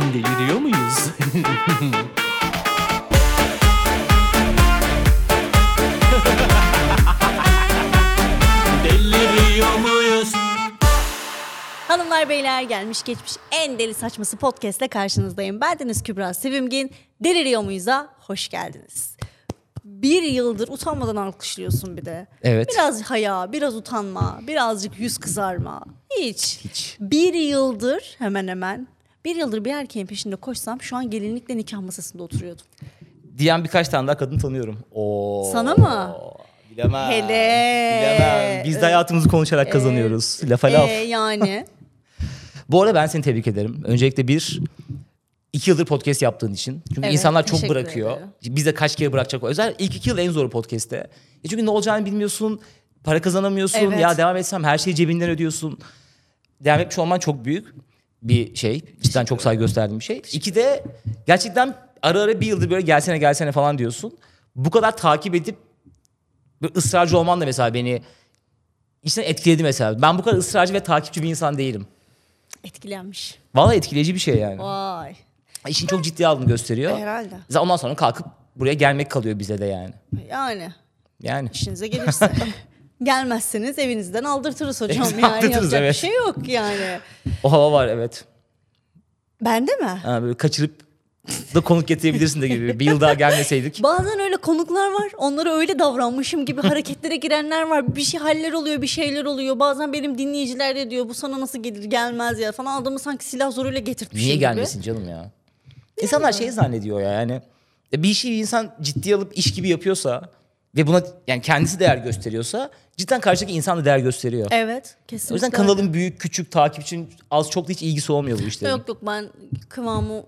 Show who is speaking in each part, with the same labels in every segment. Speaker 1: Deliriyor muyuz? Deliriyor muyuz?
Speaker 2: Hanımlar beyler gelmiş geçmiş en deli saçması podcast'le karşınızdayım. Bendeniz Kübra Sevimgin. Deliriyor muyuz'a hoş geldiniz. Bir yıldır utanmadan alkışlıyorsun bir de.
Speaker 3: Evet.
Speaker 2: Biraz haya, biraz utanma, birazcık yüz kızarma. Hiç.
Speaker 3: Hiç.
Speaker 2: Bir yıldır hemen hemen bir yıldır bir erkeğin peşinde koşsam şu an gelinlikle nikah masasında oturuyordum.
Speaker 3: diyen birkaç tane daha kadın tanıyorum. Oo.
Speaker 2: Sana mı?
Speaker 3: Bilemem.
Speaker 2: Hele.
Speaker 3: Bilemem. Biz de hayatımızı konuşarak kazanıyoruz. Lafa laf.
Speaker 2: Ee, yani
Speaker 3: Bu arada ben seni tebrik ederim. Öncelikle bir, iki yıldır podcast yaptığın için. Çünkü
Speaker 2: Evet,
Speaker 3: insanlar çok
Speaker 2: teşekkür
Speaker 3: bırakıyor.
Speaker 2: ederim.
Speaker 3: Biz de kaç kere bırakacak. Özellikle ilk iki yıl en zoru podcast'te. E çünkü ne olacağını bilmiyorsun. Para kazanamıyorsun.
Speaker 2: Evet.
Speaker 3: Ya devam etsem her şeyi cebinden ödüyorsun. Devam etmiş olman çok büyük bir şey. Cidden çok saygı gösterdiğim bir şey. İki de gerçekten ara ara bir yıldır böyle gelsene gelsene falan diyorsun. Bu kadar takip edip böyle ısrarcı olman da mesela beni içten etkiledi mesela. Ben bu kadar ısrarcı ve takipçi bir insan değilim.
Speaker 2: etkilenmiş.
Speaker 3: Vallahi etkileyici bir şey yani.
Speaker 2: Vay.
Speaker 3: İşin çok ciddi aldığını gösteriyor.
Speaker 2: Herhalde.
Speaker 3: Zaten Ondan sonra kalkıp buraya gelmek kalıyor bize de yani.
Speaker 2: Yani.
Speaker 3: Yani.
Speaker 2: işinize gelirse. Gelmezseniz evinizden aldırtırız hocam.
Speaker 3: Evinizden
Speaker 2: yani
Speaker 3: aldırtırız,
Speaker 2: yapacak bir
Speaker 3: evet.
Speaker 2: şey yok yani.
Speaker 3: O hava var evet.
Speaker 2: Bende mi?
Speaker 3: Ha, böyle kaçırıp da konuk getirebilirsin de gibi. Bir yıl daha gelmeseydik.
Speaker 2: Bazen öyle konuklar var. Onlara öyle davranmışım gibi hareketlere girenler var. Bir şey haller oluyor, bir şeyler oluyor. Bazen benim dinleyiciler de diyor bu sana nasıl gelir gelmez ya falan. Adamı sanki silah zoruyla getirtmişim
Speaker 3: Niye
Speaker 2: gibi.
Speaker 3: gelmesin canım ya? İnsanlar şey zannediyor ya yani. e, Bir işi insan ciddiye alıp iş gibi yapıyorsa ve buna yani kendisi değer gösteriyorsa cidden karşıdaki insan da değer gösteriyor.
Speaker 2: Evet,
Speaker 3: O
Speaker 2: kesinlikle.
Speaker 3: yüzden kanalın büyük, küçük, takipçinin az çok da hiç ilgisi olmuyor bu işlerin.
Speaker 2: Yok yok ben kıvamı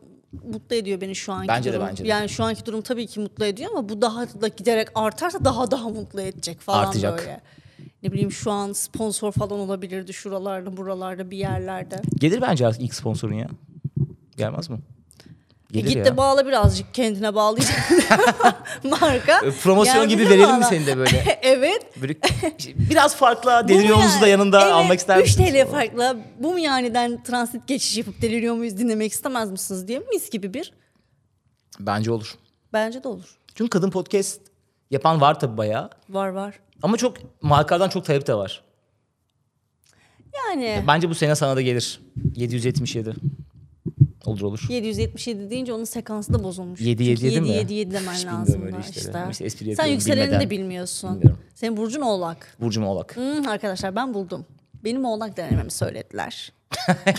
Speaker 2: mutlu ediyor beni şu anki
Speaker 3: Bence de,
Speaker 2: durum.
Speaker 3: bence de.
Speaker 2: Yani şu anki durum tabii ki mutlu ediyor ama bu daha da giderek artarsa daha daha mutlu edecek falan
Speaker 3: Artacak.
Speaker 2: böyle. Ne bileyim şu an sponsor falan olabilirdi şuralarda buralarda bir yerlerde.
Speaker 3: Gelir bence artık ilk sponsorun ya. Gelmez mi?
Speaker 2: E
Speaker 3: Gelir
Speaker 2: git
Speaker 3: ya.
Speaker 2: de bağla birazcık kendine bağlayacak marka.
Speaker 3: E, Promosyon
Speaker 2: Yani
Speaker 3: gibi
Speaker 2: bize
Speaker 3: verelim
Speaker 2: bağla.
Speaker 3: mi seni de böyle?
Speaker 2: evet.
Speaker 3: Böyle biraz farklı
Speaker 2: Bu mu
Speaker 3: deliriyorumuzu da
Speaker 2: yani?
Speaker 3: yanında
Speaker 2: evet,
Speaker 3: almak ister misiniz?
Speaker 2: 3 TL farkla bu mu yaniden transit geçiş yapıp deliriyor muyuz dinlemek istemez misiniz diye mis gibi bir
Speaker 3: Bence olur.
Speaker 2: bence de olur.
Speaker 3: Çünkü kadın podcast yapan var tabii bayağı.
Speaker 2: Var var.
Speaker 3: Ama çok markalardan çok talep de var.
Speaker 2: Yani
Speaker 3: Bence bu sene sana da gelir. 777. Olur olur.
Speaker 2: 777 deyince onun sekansı da bozulmuş.
Speaker 3: 777
Speaker 2: Çünkü
Speaker 3: mi?
Speaker 2: 777 demen
Speaker 3: Hiç bilmiyorum
Speaker 2: lazım
Speaker 3: öyle
Speaker 2: da
Speaker 3: işleri.
Speaker 2: işte.
Speaker 3: Ama işte espri
Speaker 2: Sen
Speaker 3: yapıyorum,
Speaker 2: yükseleni
Speaker 3: bilmeden.
Speaker 2: de bilmiyorsun.
Speaker 3: Bilmiyorum.
Speaker 2: Senin burcun oğlak.
Speaker 3: Burcum Oğlak.
Speaker 2: Hmm, arkadaşlar ben buldum. Benim oğlak denememi söylediler.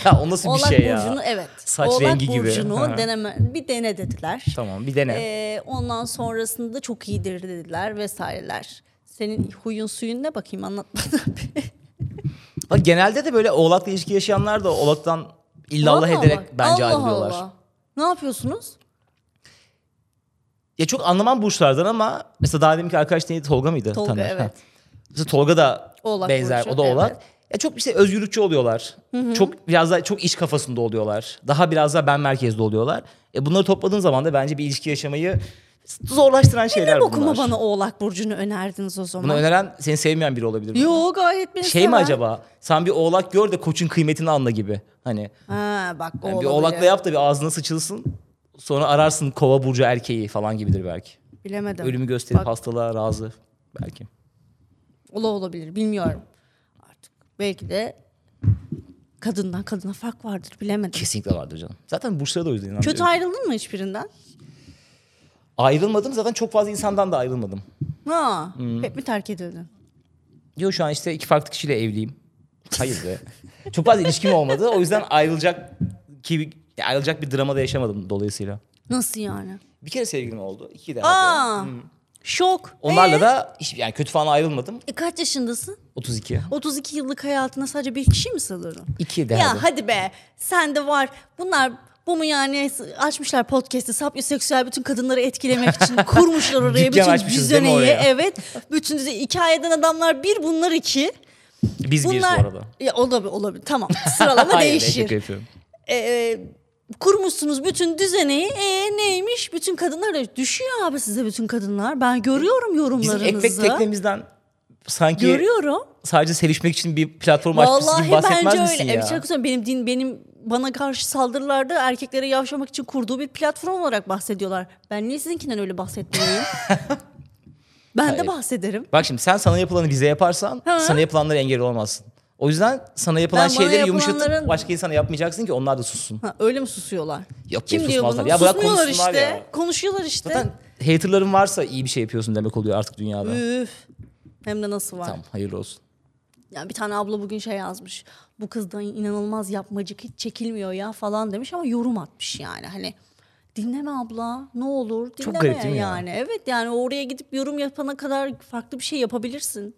Speaker 3: ya o nasıl bir
Speaker 2: Oğlak
Speaker 3: şey ya?
Speaker 2: burcunu evet.
Speaker 3: Saç
Speaker 2: oğlak
Speaker 3: rengi gibi.
Speaker 2: burcunu deneme, bir dene dediler.
Speaker 3: Tamam bir dene.
Speaker 2: Ee, ondan sonrasında çok iyidir dediler vesaireler. Senin huyun suyun ne bakayım anlat bana bir.
Speaker 3: Bak, genelde de böyle Oğlak'la ilişki yaşayanlar da Oğlak'tan illallah
Speaker 2: Vallahi
Speaker 3: ederek
Speaker 2: bak,
Speaker 3: bence
Speaker 2: Allah
Speaker 3: ayrılıyorlar.
Speaker 2: Allah. Ne yapıyorsunuz?
Speaker 3: Ya çok anlamam burçlardan ama mesela daha deminki arkadaş neydi Tolga mıydı?
Speaker 2: Tolga,
Speaker 3: Taner.
Speaker 2: evet.
Speaker 3: Ha. Mesela Tolga da
Speaker 2: Oğlak
Speaker 3: benzer.
Speaker 2: burcu,
Speaker 3: o da oğlak.
Speaker 2: evet.
Speaker 3: Ya çok işte özgürlükçü oluyorlar. Çok biraz daha çok iş kafasında oluyorlar. Daha biraz daha ben merkezli oluyorlar. E bunları topladığın zaman da bence bir ilişki yaşamayı zorlaştıran şeyler
Speaker 2: Ne bokuma
Speaker 3: bunlar.
Speaker 2: bana oğlak burcunu önerdiniz o zaman?
Speaker 3: Bunu öneren seni sevmeyen biri olabilir. mi?
Speaker 2: Yo gayet beni
Speaker 3: Şey mi
Speaker 2: seven.
Speaker 3: acaba? Sen bir oğlak gör de koçun kıymetini anla gibi. Hani
Speaker 2: Ha bak o
Speaker 3: yani bir
Speaker 2: olabilir.
Speaker 3: oğlakla yap da bir ağzına sıçılsın. Sonra ararsın kova burcu erkeği falan gibidir belki.
Speaker 2: Bilemedim.
Speaker 3: Ölümü gösterip
Speaker 2: Bak,
Speaker 3: hastalığa razı belki.
Speaker 2: ola olabilir bilmiyorum. Artık belki de kadından kadına fark vardır bilemedim.
Speaker 3: Kesinlikle vardır canım. Zaten burçlara da o yüzden
Speaker 2: Kötü
Speaker 3: inanmıyorum.
Speaker 2: ayrıldın mı hiçbirinden?
Speaker 3: Ayrılmadım zaten çok fazla insandan da ayrılmadım.
Speaker 2: Ha,
Speaker 3: Hmm.
Speaker 2: hep mi terk edildin?
Speaker 3: Diyor şu an işte iki farklı kişiyle evliyim. Hayır be. çok fazla ilişkim olmadı. O yüzden ayrılacak ki ayrılacak bir drama da yaşamadım dolayısıyla.
Speaker 2: Nasıl yani?
Speaker 3: Bir kere sevgilim oldu. iki de.
Speaker 2: Aa, şok.
Speaker 3: Hmm. Onlarla
Speaker 2: Ee?
Speaker 3: da hiç, yani kötü falan ayrılmadım.
Speaker 2: E, kaç yaşındasın?
Speaker 3: 32.
Speaker 2: 32 yıllık hayatına sadece bir kişi mi sığdırdın?
Speaker 3: İki de.
Speaker 2: Ya hadi be sen de var. Bunlar bu mu yani açmışlar podcast'i sapyoseksüel bütün kadınları etkilemek için kurmuşlar oraya
Speaker 3: Dükkan
Speaker 2: bütün
Speaker 3: açmışız değil mi
Speaker 2: düzeneyi.
Speaker 3: oraya?
Speaker 2: Evet. Bütün düzen- hikayeden adamlar bir bunlar iki.
Speaker 3: Biz
Speaker 2: Bunlar
Speaker 3: bir bu arada.
Speaker 2: Ya olabilir olabilir. Tamam. Sıralama
Speaker 3: Hayır,
Speaker 2: değişir.
Speaker 3: şaka yapıyorum.
Speaker 2: Ee, kurmuşsunuz bütün düzeneyi. E neymiş? Bütün kadınlar düşüyor abi size bütün kadınlar. Ben görüyorum
Speaker 3: Bizim ekmek
Speaker 2: yorumlarınızı.
Speaker 3: teknemizden sanki
Speaker 2: görüyorum.
Speaker 3: sadece sevişmek için bir platform açmışız gibi
Speaker 2: Vallahi
Speaker 3: bahsetmez
Speaker 2: bence
Speaker 3: misin
Speaker 2: öyle. E,
Speaker 3: ya?
Speaker 2: Evet, şarkı söylüyorum. benim din benim bana karşı saldırılarda erkeklere yavşamak için kurduğu bir platform olarak bahsediyorlar. Ben niye sizinkinden öyle bahsetmiyorum? ben de
Speaker 3: Hayır.
Speaker 2: bahsederim.
Speaker 3: Bak şimdi sen sana yapılanı bize yaparsan
Speaker 2: Ha.
Speaker 3: sana yapılanlara engel olamazsın. O yüzden sana yapılan
Speaker 2: Ben bana
Speaker 3: şeyleri yumuşatıp
Speaker 2: yapılanların-
Speaker 3: başka insana yapmayacaksın ki onlar da sussun.
Speaker 2: Ha, öyle mi susuyorlar?
Speaker 3: Yok,
Speaker 2: Kim
Speaker 3: yok,
Speaker 2: diyor
Speaker 3: susmazlar.
Speaker 2: bunu?
Speaker 3: Ya bırak
Speaker 2: Susmuyorlar
Speaker 3: konuşsunlar
Speaker 2: işte.
Speaker 3: ya.
Speaker 2: Konuşuyorlar işte.
Speaker 3: Zaten haterların varsa iyi bir şey yapıyorsun demek oluyor artık dünyada.
Speaker 2: Üf. Hem de nasıl var?
Speaker 3: Tamam hayırlı olsun.
Speaker 2: Ya bir tane abla bugün şey yazmış. Bu kız da inanılmaz yapmacık hiç çekilmiyor ya falan demiş ama yorum atmış yani. Hani dinleme abla ne olur dinleme
Speaker 3: garip değil mi ya?
Speaker 2: yani. Evet yani oraya gidip yorum yapana kadar farklı bir şey yapabilirsin.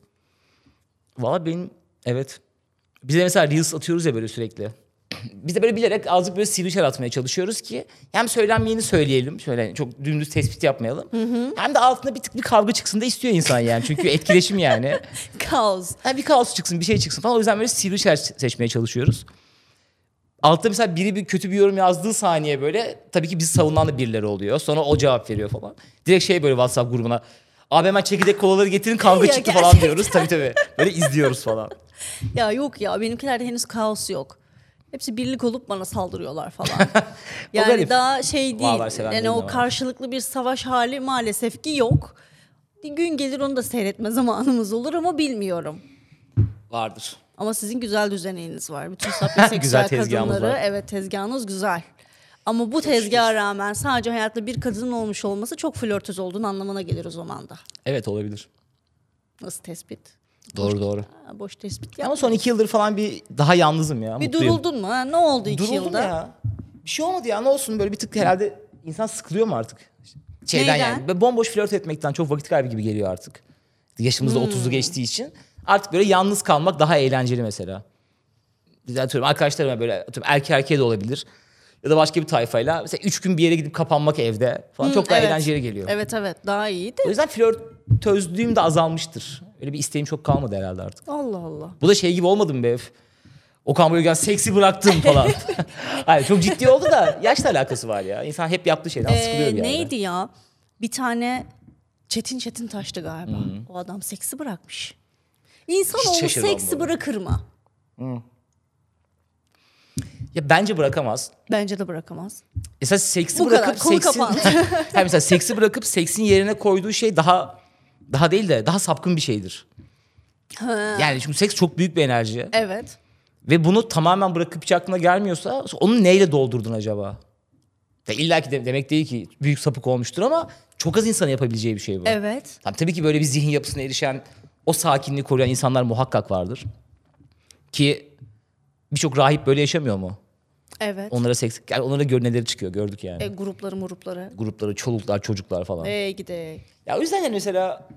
Speaker 3: Valla benim evet. Biz de mesela Reels atıyoruz ya böyle sürekli. Biz de böyle bilerek azıcık böyle sivri şeyler atmaya çalışıyoruz ki hem söylenmeyeni söyleyelim. Şöyle hani çok dümdüz tespit yapmayalım. Hem de altında bir tık bir kavga çıksın da istiyor insan yani. Çünkü etkileşim yani.
Speaker 2: Kaos.
Speaker 3: Ha, bir kaos çıksın bir şey çıksın falan. O yüzden böyle sivri şeyler seçmeye çalışıyoruz. Altta mesela biri bir kötü bir yorum yazdığı saniye böyle tabii ki bizi savunan da birileri oluyor. Sonra o cevap veriyor falan. Direkt şey böyle WhatsApp grubuna. Abi hemen çekirdek kolaları getirin kavga
Speaker 2: Ya
Speaker 3: çıktı falan
Speaker 2: gerçekten.
Speaker 3: diyoruz. Tabii tabii. Böyle izliyoruz falan.
Speaker 2: Ya yok ya benimkilerde henüz kaos yok. Hepsi birlik olup bana saldırıyorlar falan. yani
Speaker 3: garip.
Speaker 2: daha şey değil.
Speaker 3: Vallahi seven
Speaker 2: Yani
Speaker 3: değilim
Speaker 2: o
Speaker 3: ama.
Speaker 2: karşılıklı bir savaş hali maalesef ki yok. Gün gelir onu da seyretme zamanımız olur ama bilmiyorum.
Speaker 3: Vardır.
Speaker 2: Ama sizin güzel düzeniniz var. Bütün sapyoseksüel
Speaker 3: Güzel tezgahımız
Speaker 2: kadınları.
Speaker 3: var.
Speaker 2: Evet tezgahınız güzel. Ama bu tezgaha rağmen sadece hayatta bir kadının olmuş olması çok flörtöz olduğunu anlamına gelir o zaman da.
Speaker 3: Evet olabilir.
Speaker 2: Nasıl tespit?
Speaker 3: Doğru doğru.
Speaker 2: Ha, boş tespit
Speaker 3: Ama
Speaker 2: ya.
Speaker 3: son iki yıldır falan bir daha yalnızım ya.
Speaker 2: Bir
Speaker 3: mutluyum.
Speaker 2: duruldun mu? Ha, ne oldu iki
Speaker 3: Duruldum
Speaker 2: yılda?
Speaker 3: ya. Bir şey olmadı ya ne olsun böyle bir tık herhalde insan sıkılıyor mu artık? Şeyden
Speaker 2: Neyden?
Speaker 3: yani. Böyle Bomboş flört etmekten çok vakit kaybı gibi geliyor artık.
Speaker 2: Hmm.
Speaker 3: Yaşımızda 30'u geçtiği için. Artık böyle yalnız kalmak daha eğlenceli mesela. Biz atıyorum arkadaşlarıma böyle atıyorum erkek erkeğe de olabilir. Ya da başka bir tayfayla. Mesela üç gün bir yere gidip kapanmak evde falan çok daha
Speaker 2: Hmm, evet.
Speaker 3: eğlenceli geliyor.
Speaker 2: Evet evet daha iyiydi.
Speaker 3: O yüzden flörtözlüğüm de azalmıştır. Öyle bir isteğim çok kalmadı herhalde artık.
Speaker 2: Allah Allah.
Speaker 3: Bu da şey gibi olmadı mı be? Öf. Okan Bölgen seksi bıraktım falan. Hayır çok ciddi oldu da yaşla alakası var ya. İnsan hep yaptığı şeyden sıkılıyor
Speaker 2: Ee,
Speaker 3: bir yerde.
Speaker 2: neydi ya? Bir tane Çetin Çetin taştı galiba. O adam seksi bırakmış. İnsan
Speaker 3: Hiç
Speaker 2: olmuş
Speaker 3: şaşırmam bu
Speaker 2: seksi
Speaker 3: arada.
Speaker 2: bırakır mı?
Speaker 3: Ya bence bırakamaz.
Speaker 2: Bence de bırakamaz.
Speaker 3: Mesela seksi
Speaker 2: Bu kadar,
Speaker 3: bırakıp
Speaker 2: konu
Speaker 3: seksin...
Speaker 2: kapandı.
Speaker 3: Hayır, mesela seksi bırakıp seksin yerine koyduğu şey daha daha değil de daha sapkın bir şeydir. Yani çünkü seks çok büyük bir enerji.
Speaker 2: Evet.
Speaker 3: Ve bunu tamamen bırakıp hiç aklına gelmiyorsa onu neyle doldurdun acaba? Ya İlla ki de- demek değil ki büyük sapık olmuştur ama çok az insanın yapabileceği bir şey bu.
Speaker 2: Evet.
Speaker 3: Tam tabii ki böyle bir zihin yapısına erişen, o sakinliği koruyan insanlar muhakkak vardır. Ki birçok rahip böyle yaşamıyor mu?
Speaker 2: Evet.
Speaker 3: Onlara seks, yani onlara görüneleri çıkıyor gördük yani.
Speaker 2: E, grupları murupları.
Speaker 3: Grupları, çoluklar, çocuklar falan.
Speaker 2: E gide.
Speaker 3: Ya o yüzden yani mesela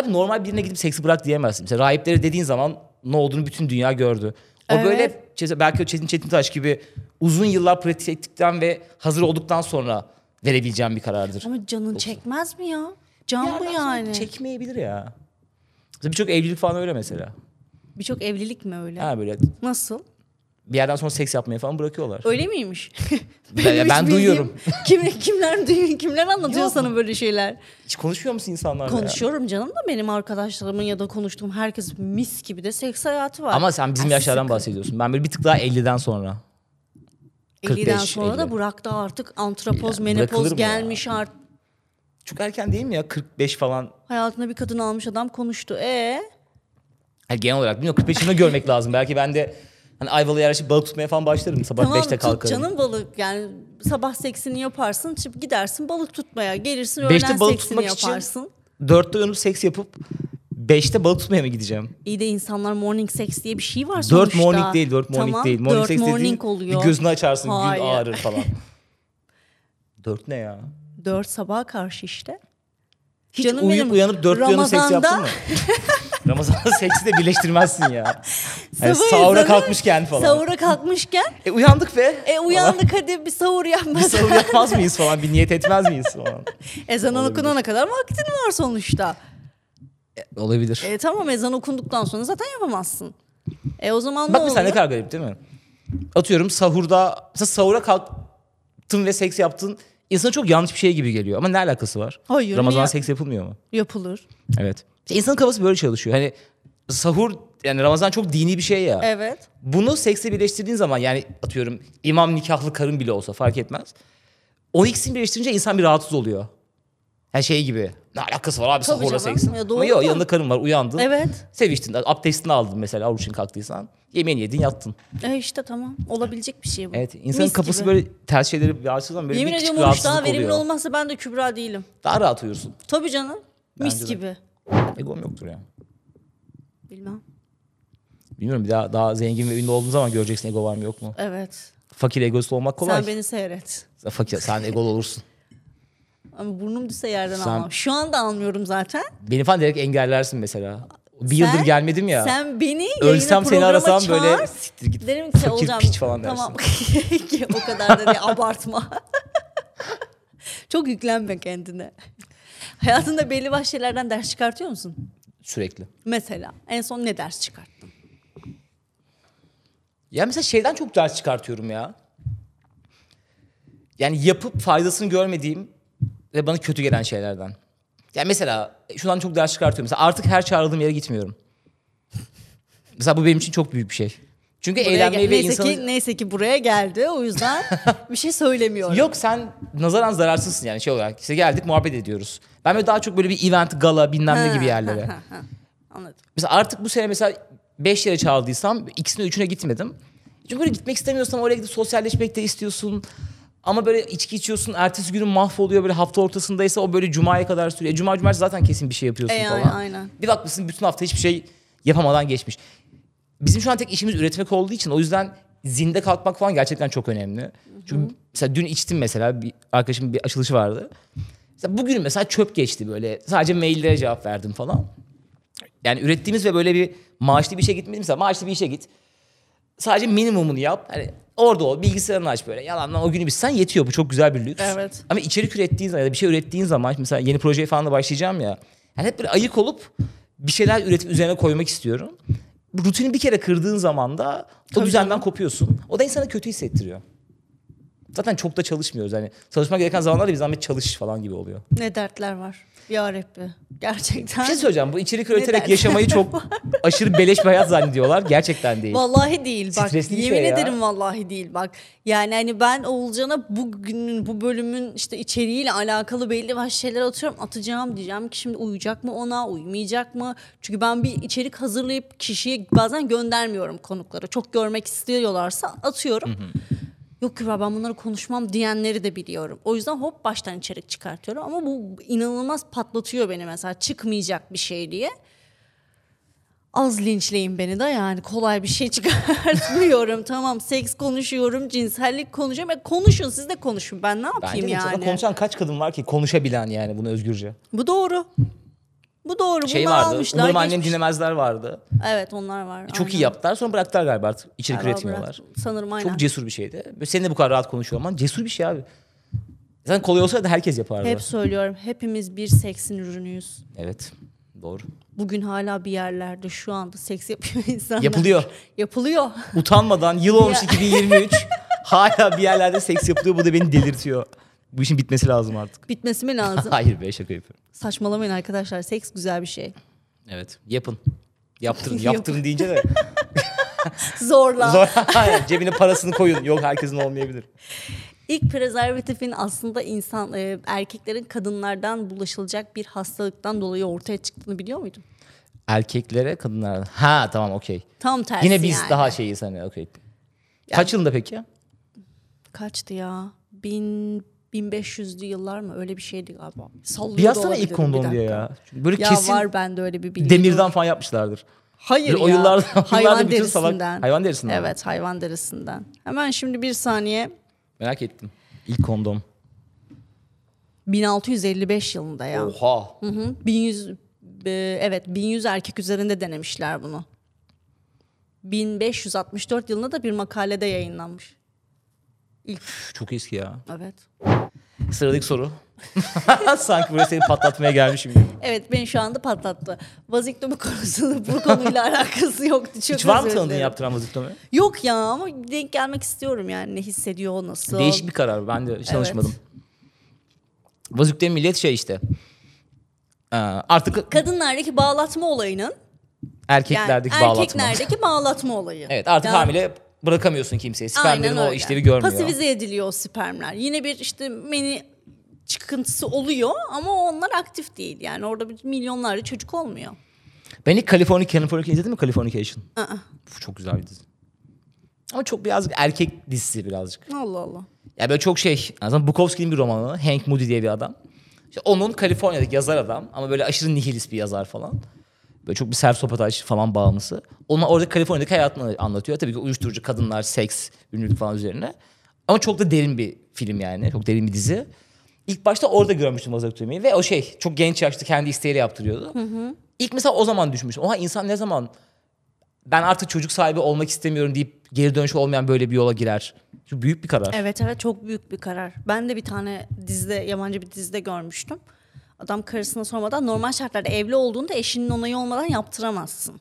Speaker 3: abi normal birine gidip seksi bırak diyemezsin. Mesela rahiplere dediğin zaman ne olduğunu bütün dünya gördü. O
Speaker 2: Evet.
Speaker 3: böyle çe- belki o Çetin Çetintaş gibi uzun yıllar pratik ettikten ve hazır olduktan sonra verebileceğim bir karardır.
Speaker 2: Ama canın çekmez mi ya? Can bu
Speaker 3: Bir yerden sonra
Speaker 2: yani.
Speaker 3: Çekmeyebilir ya. Mesela birçok evlilik falan öyle mesela.
Speaker 2: Birçok evlilik mi öyle?
Speaker 3: Ha böyle
Speaker 2: Nasıl?
Speaker 3: bir yerden sonra seks yapmayı falan bırakıyorlar.
Speaker 2: Öyle miymiş?
Speaker 3: Ben-
Speaker 2: hiç
Speaker 3: ben
Speaker 2: bildiğim-
Speaker 3: duyuyorum.
Speaker 2: Kim, kimler duyuyor, kimler anlatıyor
Speaker 3: Yok.
Speaker 2: sana böyle şeyler?
Speaker 3: Hiç konuşuyor musun insanlarla? ya?
Speaker 2: Konuşuyorum canım da benim arkadaşlarımın ya da konuştuğum herkes mis gibi de seks hayatı var.
Speaker 3: Ama sen bizim
Speaker 2: Ay,
Speaker 3: yaşlardan
Speaker 2: sıkı.
Speaker 3: bahsediyorsun. Ben böyle bir tık daha 50'den sonra.
Speaker 2: 50'den
Speaker 3: 45,
Speaker 2: sonra
Speaker 3: 50.
Speaker 2: da Burak'ta artık antropoz,
Speaker 3: Ya, bırakılır
Speaker 2: menopoz
Speaker 3: mı ya?
Speaker 2: gelmiş artık.
Speaker 3: Çok erken değil mi ya 45 falan?
Speaker 2: Hayatına bir kadın almış adam konuştu. E
Speaker 3: Yani genel olarak bilmiyorum 45 yaşında görmek lazım. Belki ben de hani Ayvalık'a yerleşip balık tutmaya falan başlarım. Sabah
Speaker 2: Tamam
Speaker 3: 5'te
Speaker 2: tut
Speaker 3: kalkarım.
Speaker 2: canım balık yani sabah seksini yaparsın çık gidersin balık tutmaya gelirsin öğlen
Speaker 3: Beşte balık
Speaker 2: seksini
Speaker 3: tutmak için-
Speaker 2: yaparsın.
Speaker 3: 4'te uyanıp seks yapıp 5'te balık tutmaya mı gideceğim?
Speaker 2: İyi de insanlar morning sex diye bir şey var
Speaker 3: 4
Speaker 2: sonuçta.
Speaker 3: morning değil 4 morning
Speaker 2: Tamam,
Speaker 3: değil. Morning
Speaker 2: dört
Speaker 3: sex
Speaker 2: morning
Speaker 3: dediğin
Speaker 2: oluyor.
Speaker 3: bir gözünü açarsın
Speaker 2: Hayır.
Speaker 3: gün ağrır falan. 4 ne ya?
Speaker 2: 4 sabaha karşı işte.
Speaker 3: Hiç
Speaker 2: Canım
Speaker 3: uyuyup
Speaker 2: benim,
Speaker 3: uyanıp 4'te uyanıp seks yaptın
Speaker 2: Ramazan'da-
Speaker 3: mı? Ramazan'da seksi de birleştirmezsin ya. Yani
Speaker 2: Sabah
Speaker 3: sahura
Speaker 2: ezanı-
Speaker 3: kalkmışken falan.
Speaker 2: Sahura kalkmışken
Speaker 3: E uyandık be.
Speaker 2: e uyandık hadi bir sahur
Speaker 3: Bir
Speaker 2: yapmadan.
Speaker 3: sahur yapmaz mıyız falan? Bir niyet etmez miyiz falan?
Speaker 2: Ezan okunana kadar vaktin var sonuçta.
Speaker 3: Olabilir.
Speaker 2: E tamam ezan okunduktan sonra zaten yapamazsın. E o zaman
Speaker 3: Bak
Speaker 2: ne
Speaker 3: mesela
Speaker 2: oluyor?
Speaker 3: ne kadar garip değil mi? Atıyorum sahurda, mesela sahura kalktın ve seks yaptın. İnsana çok yanlış bir şey gibi geliyor. Ama ne alakası var?
Speaker 2: Hayır,
Speaker 3: Ramazan
Speaker 2: niye?
Speaker 3: seks yapılmıyor mu?
Speaker 2: Yapılır.
Speaker 3: Evet. İşte insanın kafası böyle çalışıyor. Hani sahur yani Ramazan çok dini bir şey ya.
Speaker 2: Evet.
Speaker 3: Bunu seksle birleştirdiğin zaman yani atıyorum imam nikahlı karın bile olsa fark etmez. O ikisini birleştirince insan bir rahatsız oluyor. Her şey gibi. Ne alakası var abi
Speaker 2: Tabii
Speaker 3: sahurla
Speaker 2: canım.
Speaker 3: seksin.
Speaker 2: Ya
Speaker 3: Ama
Speaker 2: doğru
Speaker 3: yok
Speaker 2: da.
Speaker 3: yanında karın var uyandın.
Speaker 2: Evet.
Speaker 3: Seviştin abdestini aldın mesela oruç için kalktıysan. Yemeğini yedin yattın.
Speaker 2: E işte tamam. Olabilecek bir şey bu.
Speaker 3: Evet insanın
Speaker 2: Mis
Speaker 3: kafası
Speaker 2: gibi.
Speaker 3: böyle ters şeyleri rahatsız zaman böyle
Speaker 2: Yemin
Speaker 3: bir küçük
Speaker 2: ediyorum oruç daha
Speaker 3: rahatsızlık
Speaker 2: verimli
Speaker 3: oluyor.
Speaker 2: olmazsa ben de Kübra değilim.
Speaker 3: Daha rahat uyursun.
Speaker 2: Tabii canım. Mis
Speaker 3: Bence de.
Speaker 2: gibi.
Speaker 3: Egom yoktur ya.
Speaker 2: Bilmem.
Speaker 3: Bilmiyorum bir daha daha zengin ve ünlü olduğun zaman göreceksin ego var mı yok mu?
Speaker 2: Evet.
Speaker 3: Fakir egoist olmak kolay.
Speaker 2: Sen beni seyret.
Speaker 3: Sen Fakir sen egolu olursun.
Speaker 2: Ama burnum düşse yerden
Speaker 3: Sen-
Speaker 2: almam. Şu anda almıyorum zaten.
Speaker 3: Beni falan direkt engellersin mesela. Bir
Speaker 2: Sen-
Speaker 3: yıldır gelmedim ya.
Speaker 2: Sen beni yayına
Speaker 3: Ölsem seni
Speaker 2: programa
Speaker 3: arasam
Speaker 2: çağır.
Speaker 3: böyle siktir git.
Speaker 2: Derim ki
Speaker 3: fakir
Speaker 2: olacağım.
Speaker 3: piç falan dersin.
Speaker 2: tamam. o kadar da değil, abartma. Çok yüklenme kendine. Hayatında belli başlı şeylerden ders çıkartıyor musun?
Speaker 3: Sürekli.
Speaker 2: Mesela en son ne ders çıkarttın?
Speaker 3: Ya mesela şeyden çok ders çıkartıyorum ya. Yani yapıp faydasını görmediğim ve bana kötü gelen şeylerden. Yani mesela e, şundan çok ders çıkartıyorum. Mesela artık her çağrıldığım yere gitmiyorum. mesela bu benim için çok büyük bir şey. Çünkü
Speaker 2: Buraya
Speaker 3: eğlenmeyi
Speaker 2: gel-
Speaker 3: ve
Speaker 2: neyse,
Speaker 3: insanı...
Speaker 2: ki, neyse ki buraya geldi o yüzden bir şey söylemiyorum.
Speaker 3: Yok sen nazaran zararsızsın yani şey olarak. İşte geldik muhabbet ediyoruz. Ben böyle daha çok böyle bir event, gala bilmem ne gibi yerlere.
Speaker 2: Anladım.
Speaker 3: Mesela artık bu sene mesela 5 yere çağrıldıysam ikisine üçüne gitmedim. Çünkü böyle gitmek istemiyorsan oraya gidip sosyalleşmek de istiyorsun. Ama böyle içki içiyorsun, ertesi günün mahvoluyor böyle hafta ortasındaysa o böyle cumaya kadar sürüyor. E, Cuma cumartesi zaten kesin bir şey yapıyorsun
Speaker 2: E, yani,
Speaker 3: falan.
Speaker 2: aynen.
Speaker 3: Bir bakmışsın bütün hafta hiçbir şey yapamadan geçmiş. Bizim şu an tek işimiz üretmek olduğu için o yüzden zinde kalkmak falan gerçekten çok önemli. Çünkü mesela dün içtim mesela bir arkadaşımın bir açılışı vardı. Mesela bugün mesela çöp geçti böyle. Sadece maillere cevap verdim falan. Yani ürettiğimiz ve böyle bir maaşlı bir işe gitmediğimiz mesela maaşlı bir işe git. Sadece minimumunu yap. Hani orada ol bilgisayarını aç böyle. Yalandan o günü bitsen yetiyor. Bu çok güzel bir lüks.
Speaker 2: Evet.
Speaker 3: Ama içerik ürettiğin zaman ya da bir şey ürettiğin zaman mesela yeni projeye falan da başlayacağım ya. Yani hep böyle ayık olup bir şeyler üretip üzerine koymak istiyorum. Bu Rutini bir kere kırdığın zaman da o düzenden kopuyorsun. O da insanı kötü hissettiriyor. Zaten çok da çalışmıyoruz. Yani çalışmak gereken zamanlarda bir zahmet çalış falan gibi oluyor.
Speaker 2: Ne dertler var. Ya Rabbi. Gerçekten.
Speaker 3: Bir şey söyleyeceğim. Bu içerik üreterek
Speaker 2: dersin?
Speaker 3: yaşamayı çok aşırı beleş bir hayat zannediyorlar. Gerçekten değil.
Speaker 2: Vallahi değil bak.
Speaker 3: Stresli bir
Speaker 2: Yemin
Speaker 3: şey ya.
Speaker 2: ederim vallahi değil bak. Yani hani ben Oğulcan'a bugünün bu bölümün işte içeriğiyle alakalı belli başlı şeyler atıyorum. Atacağım diyeceğim ki şimdi uyuyacak mı ona, uyumayacak mı? Çünkü ben bir içerik hazırlayıp kişiye bazen göndermiyorum konuklara. Çok görmek istiyorlarsa atıyorum. Yok Kübra ben bunları konuşmam diyenleri de biliyorum. O yüzden hop baştan içerik çıkartıyorum. Ama bu inanılmaz patlatıyor beni mesela çıkmayacak bir şey diye. Az linçleyin beni de yani kolay bir şey çıkartmıyorum. tamam seks konuşuyorum, cinsellik konuşuyorum. E konuşun siz de konuşun ben ne yapayım
Speaker 3: Bence de
Speaker 2: yani.
Speaker 3: yani. konuşan kaç kadın var ki konuşabilen yani bunu özgürce.
Speaker 2: Bu doğru. Bu doğru.
Speaker 3: Şey
Speaker 2: Bunlar
Speaker 3: vardı.
Speaker 2: almışlar.
Speaker 3: Umarım annem
Speaker 2: geçmiş-
Speaker 3: dinlemezler vardı.
Speaker 2: Evet onlar var.
Speaker 3: Çok iyi
Speaker 2: aynen.
Speaker 3: yaptılar. Sonra bıraktılar galiba artık. İçerik
Speaker 2: Galiba
Speaker 3: üretmiyorlar.
Speaker 2: bırak- Sanırım aynen.
Speaker 3: Çok cesur bir şeydi. Böyle Senin de bu kadar rahat konuşuyor olman cesur bir şey abi. Zaten kolay olsa da herkes yapardı.
Speaker 2: Hep söylüyorum hepimiz bir seksin ürünüyüz.
Speaker 3: Evet. Doğru.
Speaker 2: Bugün hala bir yerlerde şu anda seks yapıyor insanlar.
Speaker 3: Yapılıyor.
Speaker 2: Yapılıyor.
Speaker 3: Utanmadan yıl olmuş
Speaker 2: Ya.
Speaker 3: 2023 hala bir yerlerde seks yapılıyor. Bu da beni delirtiyor. Bu işin bitmesi lazım artık.
Speaker 2: Bitmesi mi lazım?
Speaker 3: Hayır be şaka yapıyorum.
Speaker 2: Saçmalamayın arkadaşlar. Seks güzel bir şey.
Speaker 3: Evet. Yapın. Yaptırın.
Speaker 2: Yapın.
Speaker 3: Yaptırın deyince de
Speaker 2: Zorla.
Speaker 3: zor. Hayır, Cebine parasını koyun. Yok herkesin olmayabilir.
Speaker 2: İlk prezervatifin aslında insan e, erkeklerin kadınlardan bulaşılacak bir hastalıktan dolayı ortaya çıktığını biliyor muydun?
Speaker 3: Erkeklere kadınlara. Ha tamam okey.
Speaker 2: Tam tersi
Speaker 3: Yine biz
Speaker 2: yani.
Speaker 3: daha şeyiz hani okey. Kaç yılında peki?
Speaker 2: Kaçtı ya? Bin... 1500'lü yıllar mı? Öyle bir şeydi galiba. Sallıyor
Speaker 3: Bir
Speaker 2: da
Speaker 3: yazsana
Speaker 2: olabilirim,
Speaker 3: ilk
Speaker 2: bir
Speaker 3: kondom diye
Speaker 2: dakika.
Speaker 3: ya. Çünkü Böyle
Speaker 2: Ya
Speaker 3: kesin
Speaker 2: var bende öyle bir bilgi.
Speaker 3: demirden falan yapmışlardır.
Speaker 2: Hayır
Speaker 3: Böyle o
Speaker 2: ya.
Speaker 3: yıllarda-
Speaker 2: hayvan
Speaker 3: yıllarda bütün salak-
Speaker 2: derisinden.
Speaker 3: Hayvan derisinden mi?
Speaker 2: Evet hayvan derisinden. Hemen şimdi bir saniye.
Speaker 3: Merak ettim. İlk kondom.
Speaker 2: 1655 yılında ya.
Speaker 3: Oha.
Speaker 2: Hı hı. 1100 e, evet 1100 erkek üzerinde denemişler bunu. 1564 yılında da bir makalede yayınlanmış.
Speaker 3: Üf, Çok eski ya.
Speaker 2: Evet.
Speaker 3: Sıradaki soru. Sanki böyle seni patlatmaya gelmişim gibi.
Speaker 2: Evet beni şu anda patlattı. Vazektomi konusunda bu konuyla alakası yoktu. Çok
Speaker 3: Hiç var mı
Speaker 2: özür
Speaker 3: tanıdığın
Speaker 2: dilerim.
Speaker 3: yaptıran vazifemi?
Speaker 2: Yok ya ama denk gelmek istiyorum yani ne hissediyor o nasıl.
Speaker 3: Değişik bir karar. Ben de hiç tanışmadım. Vazifte millet şey işte. Ee, Artık
Speaker 2: Kadınlardaki bağlatma olayının Yani
Speaker 3: erkeklerdeki bağlatma.
Speaker 2: erkeklerdeki bağlatma olayı.
Speaker 3: Evet artık
Speaker 2: Yani-
Speaker 3: hamile bırakamıyorsun kimseye. Spermlerin
Speaker 2: Aynen
Speaker 3: o
Speaker 2: öyle.
Speaker 3: işlevi görmüyor.
Speaker 2: Pasifize ediliyor o spermler. Yine bir işte meni çıkıntısı oluyor ama onlar aktif değil. Yani orada bir milyonlarca çocuk olmuyor.
Speaker 3: Ben ilk California California izledin mi Californication?
Speaker 2: Aa.
Speaker 3: Uf, çok güzel bir dizi. Ama çok birazcık erkek dizisi birazcık.
Speaker 2: Allah Allah.
Speaker 3: Ya böyle çok şey. Aslında Bukowski'nin bir romanı. Hank Moody diye bir adam. İşte onun Kaliforniya'daki yazar adam ama böyle aşırı nihilist bir yazar falan. Böyle çok bir self sabotaj falan bağımlısı. Onun orada Kaliforniya'daki hayatını anlatıyor. Tabii ki uyuşturucu, kadınlar, seks, ünlülük falan üzerine. Ama çok da derin bir film yani. Çok derin bir dizi. İlk başta orada görmüştüm vazoktoniyi ve o şey çok genç yaşta kendi isteğiyle yaptırıyordu. İlk mesela o zaman düşmüştüm. Oha insan ne zaman ben artık çocuk sahibi olmak istemiyorum deyip geri dönüşü olmayan böyle bir yola girer. Çünkü büyük bir karar.
Speaker 2: Evet evet çok büyük bir karar. Ben de bir tane dizide yabancı bir dizide görmüştüm. Adam karısına sormadan normal şartlarda evli olduğunda eşinin onayı olmadan yaptıramazsın.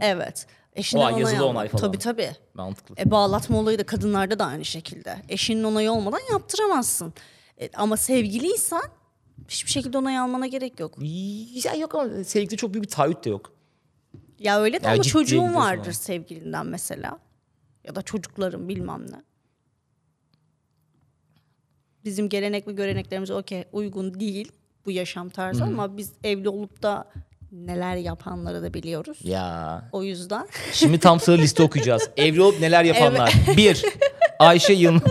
Speaker 2: Evet. Eşinden
Speaker 3: Olay,
Speaker 2: onay
Speaker 3: yazılı
Speaker 2: almak.
Speaker 3: onay falan.
Speaker 2: Tabii tabii.
Speaker 3: Mantıklı.
Speaker 2: E, bağlatma olayı da kadınlarda da aynı şekilde. Eşinin onayı olmadan yaptıramazsın. E, ama sevgiliysen hiçbir şekilde onay almana gerek yok.
Speaker 3: Ya yok ama sevgilide çok büyük bir taahhüt de yok.
Speaker 2: Ya öyle de
Speaker 3: Ya
Speaker 2: ama
Speaker 3: ciddiye
Speaker 2: çocuğun
Speaker 3: gidiyorsun
Speaker 2: vardır
Speaker 3: ama.
Speaker 2: sevgilinden mesela. Ya da çocukların bilmem ne. Bizim gelenek ve göreneklerimiz okey uygun değil bu yaşam tarzı ama biz evli olup da neler yapanları da biliyoruz.
Speaker 3: Ya.
Speaker 2: O yüzden
Speaker 3: Şimdi tam sıra liste okuyacağız. Evli olup neler yapanlar. Bir. Ayşe Yılmaz.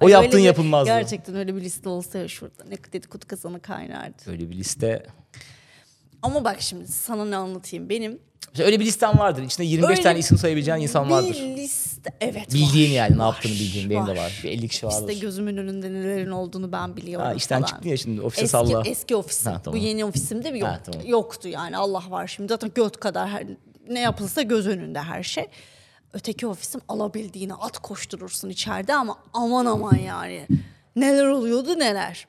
Speaker 3: o
Speaker 2: Ay,
Speaker 3: yaptığın
Speaker 2: öyle bir-
Speaker 3: yapılmazdı.
Speaker 2: Gerçekten öyle bir liste olsa ya şurada ne dedikodu kazanı kaynardı.
Speaker 3: Öyle bir liste.
Speaker 2: Ama bak şimdi sana ne anlatayım benim
Speaker 3: Mesela öyle bir listen vardır. İçinde 25
Speaker 2: Öyle
Speaker 3: tane isim sayabileceğin insan vardır.
Speaker 2: bir liste evet
Speaker 3: Bildiğin
Speaker 2: var,
Speaker 3: yani ne
Speaker 2: var,
Speaker 3: yaptığını bildiğin. Benim de var. Bir 50 kişi
Speaker 2: İşte
Speaker 3: vardır.
Speaker 2: gözümün önünde nelerin olduğunu ben biliyorum
Speaker 3: Ha, işten
Speaker 2: falan.
Speaker 3: çıktın ya şimdi ofise
Speaker 2: eski,
Speaker 3: salla.
Speaker 2: Eski ofisim.
Speaker 3: Ha,
Speaker 2: Bu
Speaker 3: tamam.
Speaker 2: yeni ofisimde bir yok,
Speaker 3: Ha, tamam.
Speaker 2: yoktu yani Allah var şimdi. Zaten göt kadar her, ne yapılsa göz önünde her şey. Öteki ofisim alabildiğine at koşturursun içeride ama aman aman yani. Neler oluyordu neler.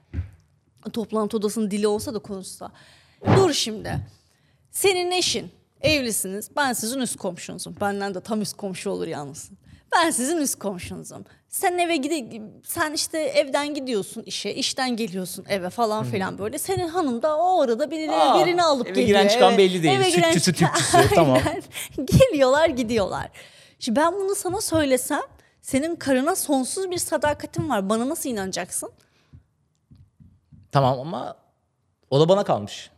Speaker 2: Toplantı odasının dili olsa da konuşsa. Dur şimdi. Senin eşin, evlisiniz. Ben sizin üst komşunuzum. Benden de tam üst komşu olur yalnız. Ben sizin üst komşunuzum. Sen eve gide sen işte evden gidiyorsun işe, işten geliyorsun eve falan filan böyle. Senin hanım da o arada birileri
Speaker 3: Hmm. Aa,
Speaker 2: birini alıp
Speaker 3: eve
Speaker 2: geliyor.
Speaker 3: giren çıkan belli değil.
Speaker 2: giren
Speaker 3: Sütçüsü,
Speaker 2: çıkan-
Speaker 3: tüpçüsü, tamam.
Speaker 2: Aynen. Geliyorlar, gidiyorlar. Şimdi ben bunu sana söylesem senin karına sonsuz bir sadakatin var. Bana nasıl inanacaksın?
Speaker 3: Tamam ama o da bana kalmış.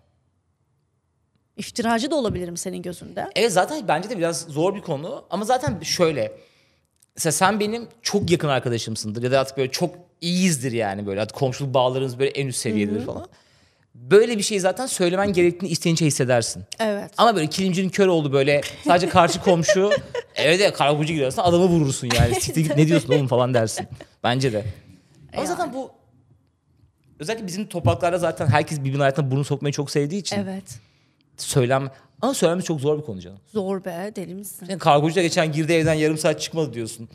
Speaker 2: İftiracı da olabilirim senin gözünde.
Speaker 3: Evet zaten bence de biraz zor bir konu ama zaten şöyle. Mesela sen benim çok yakın arkadaşımsındır ya da artık böyle çok iyiyizdir yani böyle artık komşuluk bağlarınız böyle en üst seviyedir falan. Böyle bir şeyi zaten söylemen gerektiğini isteyince hissedersin.
Speaker 2: Evet.
Speaker 3: Ama böyle kilimcinin kör oldu böyle sadece karşı komşu eve de karakocu giriyorsun adamı vurursun yani. Siktir git, ne diyorsun oğlum falan dersin. Bence de. Ama zaten bu özellikle bizim topraklarda zaten herkes birbirinin hayatına burnu sokmayı çok sevdiği için
Speaker 2: Evet.
Speaker 3: söylem ama söylemesi çok zor bir konu canım.
Speaker 2: Zor be deli misin?
Speaker 3: Yani kargocu da geçen girdi evden yarım saat çıkmadı diyorsun.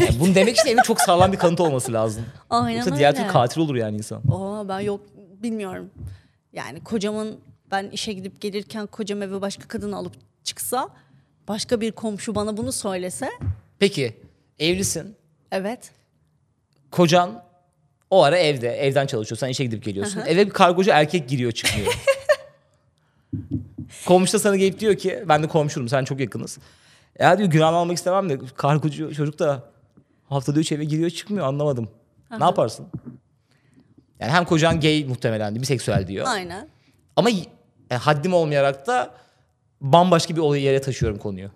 Speaker 3: Yani bunu demek için evin çok sağlam bir kanıt olması lazım.
Speaker 2: Aynen
Speaker 3: Yoksa diğer
Speaker 2: öyle.
Speaker 3: türlü katil olur yani insan.
Speaker 2: Aa ben yok bilmiyorum. Yani kocamın ben işe gidip gelirken kocam eve başka kadın alıp çıksa başka bir komşu bana bunu söylese
Speaker 3: Peki evlisin.
Speaker 2: evet
Speaker 3: Kocan o ara evde. Evden çalışıyor. Sen işe gidip geliyorsun. Eve bir kargocu erkek giriyor çıkmıyor. Komşu da sana gelip diyor ki ben de komşunum sen çok yakınız. Ya diyor günah almak istemem de kargocu çocuk da haftada üç eve giriyor çıkmıyor anlamadım. Ne yaparsın? Yani hem kocan gay muhtemelen biseksüel diyor.
Speaker 2: aynen.
Speaker 3: Ama y- e, haddim olmayarak da bambaşka bir olaya yere taşıyorum konuyu.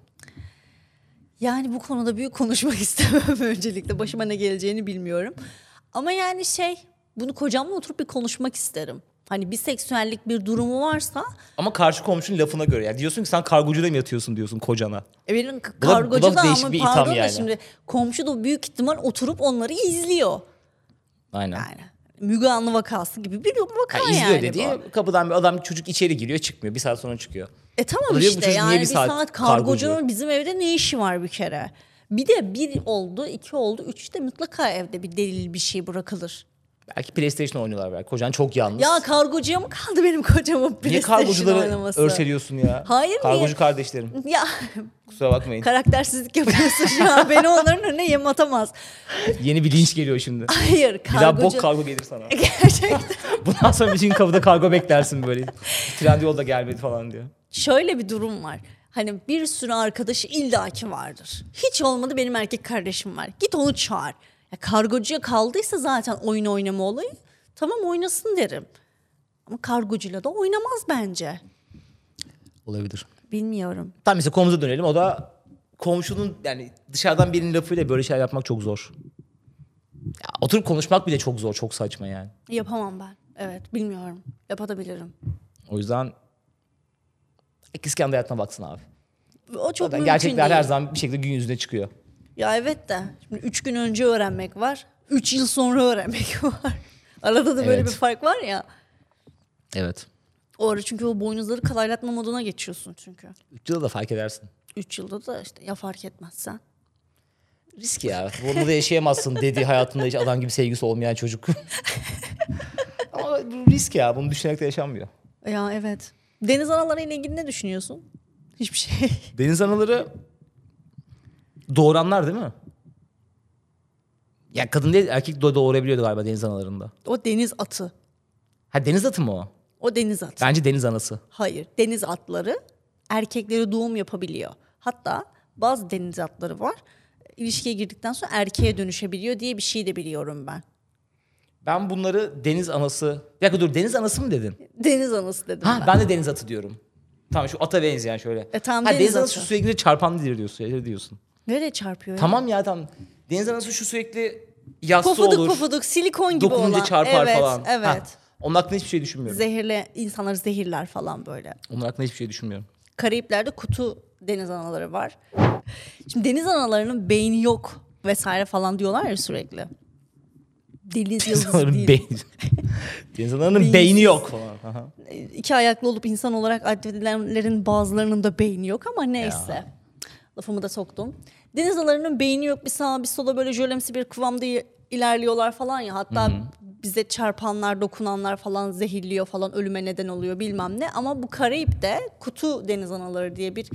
Speaker 2: Yani bu konuda büyük konuşmak istemem öncelikle başıma ne geleceğini bilmiyorum. Ama yani şey bunu kocamla oturup bir konuşmak isterim. Hani bir seksüellik bir durumu varsa
Speaker 3: Ama karşı komşunun lafına göre. Yani diyorsun ki sen kargocuda mı yatıyorsun diyorsun kocana.
Speaker 2: E benim k-
Speaker 3: Bu da- bu da
Speaker 2: kargocu da
Speaker 3: değişik
Speaker 2: ama
Speaker 3: bir itham
Speaker 2: pardon da
Speaker 3: yani.
Speaker 2: şimdi komşu da büyük ihtimal oturup onları izliyor.
Speaker 3: Aynen.
Speaker 2: Yani Müge Anlı vakası gibi bir vaka
Speaker 3: Ha,
Speaker 2: yani,
Speaker 3: izliyor
Speaker 2: yani
Speaker 3: dediği
Speaker 2: bu.
Speaker 3: kapıdan bir adam çocuk içeri giriyor çıkmıyor. Bir saat sonra çıkıyor.
Speaker 2: E tamam
Speaker 3: Ulan diyor, bu
Speaker 2: işte
Speaker 3: çocuk niye
Speaker 2: yani
Speaker 3: bir
Speaker 2: bir saat,
Speaker 3: saat
Speaker 2: kargocu'nun
Speaker 3: kargocu?
Speaker 2: bizim evde ne işi var bir kere? Bir de bir oldu, iki oldu, üç de mutlaka evde bir delil bir şey bırakılır.
Speaker 3: Belki PlayStation oynuyorlar belki. Kocan çok yalnız.
Speaker 2: Ya kargocuya mı kaldı benim kocamın
Speaker 3: Niye
Speaker 2: PlayStation
Speaker 3: kargocuları
Speaker 2: oynaması?
Speaker 3: örseliyorsun ya?
Speaker 2: Hayır, niye?
Speaker 3: Kargocu kardeşlerim.
Speaker 2: Ya
Speaker 3: Kusura bakmayın.
Speaker 2: karaktersizlik yapıyorsun şu an. Beni onların önüne yem atamaz.
Speaker 3: Yeni bir linç geliyor şimdi.
Speaker 2: Hayır
Speaker 3: Bir daha
Speaker 2: Ah, kargocu.
Speaker 3: bok kargo gelir sana.
Speaker 2: Gerçekten.
Speaker 3: Bundan sonra bütün kapıda kargo beklersin böyle. Trendyol'da gelmedi falan diyor.
Speaker 2: şöyle bir durum var. Hani bir sürü arkadaşı illaki vardır. Hiç olmadı benim erkek kardeşim var. Git onu çağır. Ya kargocuya kaldıysa zaten oyun oynama olayı tamam oynasın derim. Ama kargocuyla da oynamaz bence.
Speaker 3: Olabilir.
Speaker 2: Bilmiyorum.
Speaker 3: Tam mesela konumuza dönelim. O da komşunun yani dışarıdan birinin lafıyla böyle şeyler yapmak çok zor. Ya, oturup konuşmak bile çok zor. Çok saçma yani.
Speaker 2: Yapamam ben. Evet bilmiyorum. Yapabilirim.
Speaker 3: O yüzden herkes kendi hayatına baksın abi.
Speaker 2: O çok
Speaker 3: Zaten
Speaker 2: mümkün
Speaker 3: gerçekler
Speaker 2: değil.
Speaker 3: her zaman bir şekilde gün yüzüne çıkıyor.
Speaker 2: Ya evet de. Şimdi üç gün önce öğrenmek var. Üç yıl sonra öğrenmek var. Arada da böyle
Speaker 3: Evet.
Speaker 2: bir fark var ya.
Speaker 3: Evet.
Speaker 2: O ara çünkü o boynuzları kalaylatma moduna geçiyorsun çünkü.
Speaker 3: 3 yılda da fark edersin.
Speaker 2: 3 yılda da işte ya fark etmezsen.
Speaker 3: Risk ya. Bunu da yaşayamazsın dedi hayatında hiç adam gibi sevgisi olmayan çocuk. Ama bu risk ya. Bunu düşünerek de yaşanmıyor.
Speaker 2: Ya evet. Deniz anaları ile ilgili ne düşünüyorsun? Hiçbir şey.
Speaker 3: Deniz anaları doğuranlar değil mi? Ya kadın değil erkek de doğurabiliyordu galiba deniz analarında.
Speaker 2: O deniz atı.
Speaker 3: Ha deniz atı mı o?
Speaker 2: O deniz atı.
Speaker 3: Bence deniz anası.
Speaker 2: Hayır. Deniz atları erkekleri doğum yapabiliyor. Hatta bazı deniz atları var. İlişkiye girdikten sonra erkeğe dönüşebiliyor diye bir şey de biliyorum ben.
Speaker 3: Ben bunları deniz anası... Bir dakika dur deniz anası mı dedin?
Speaker 2: Deniz anası dedim
Speaker 3: Ha
Speaker 2: ben.
Speaker 3: ben de deniz atı diyorum. Tamam şu ata benzeyen şöyle.
Speaker 2: E, tamam,
Speaker 3: ha, deniz,
Speaker 2: deniz
Speaker 3: anası
Speaker 2: atı.
Speaker 3: sürekli çarpanlıdır diyorsun. diyorsun.
Speaker 2: Nereye çarpıyor? ya?
Speaker 3: Tamam ya tamam. Deniz anası şu sürekli yassı
Speaker 2: Pofuduk
Speaker 3: olur.
Speaker 2: pofuduk silikon gibi
Speaker 3: dokununca
Speaker 2: olan.
Speaker 3: çarpar
Speaker 2: evet,
Speaker 3: falan.
Speaker 2: Evet.
Speaker 3: Ha, onun hakkında hiçbir şey düşünmüyorum.
Speaker 2: Zehirle insanları zehirler falan böyle.
Speaker 3: onun hakkında hiçbir şey düşünmüyorum.
Speaker 2: Karayipler'de kutu deniz anaları var. Şimdi deniz analarının beyni yok vesaire falan diyorlar ya sürekli. Deniz yıldızı
Speaker 3: Sanırım
Speaker 2: değil.
Speaker 3: beyni. Deniz Ana'nın beyni yok falan. Aha.
Speaker 2: İki ayaklı olup insan olarak addedilenlerin bazılarının da beyni yok ama neyse. Lafımı da soktum. Deniz analarının beyni yok bir sağa bir sola böyle jölemsi bir kıvamda i- ilerliyorlar falan ya. Hatta bize çarpanlar, dokunanlar falan zehirliyor falan ölüme neden oluyor bilmem ne. Ama bu Karayip'te kutu deniz anaları diye bir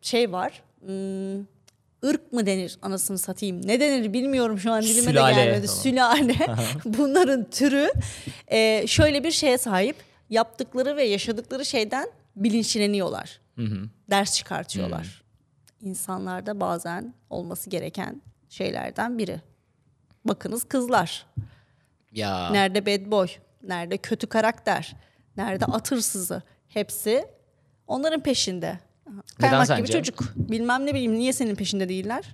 Speaker 2: şey var. Hmm, ırk mı denir anasını satayım? Ne denir bilmiyorum şu an dilime
Speaker 3: Sülale
Speaker 2: de gelmedi.
Speaker 3: falan.
Speaker 2: Sülale. Bunların türü e, şöyle bir şeye sahip. Yaptıkları ve yaşadıkları şeyden bilinçleniyorlar. Ders çıkartıyorlar. İnsanlarda bazen olması gereken şeylerden biri. Bakınız kızlar.
Speaker 3: Ya.
Speaker 2: Nerede bad boy? Nerede kötü karakter? Nerede atırsızı? Hepsi onların peşinde. Kaymak gibi
Speaker 3: sence?
Speaker 2: çocuk. Bilmem ne bileyim niye senin peşinde değiller?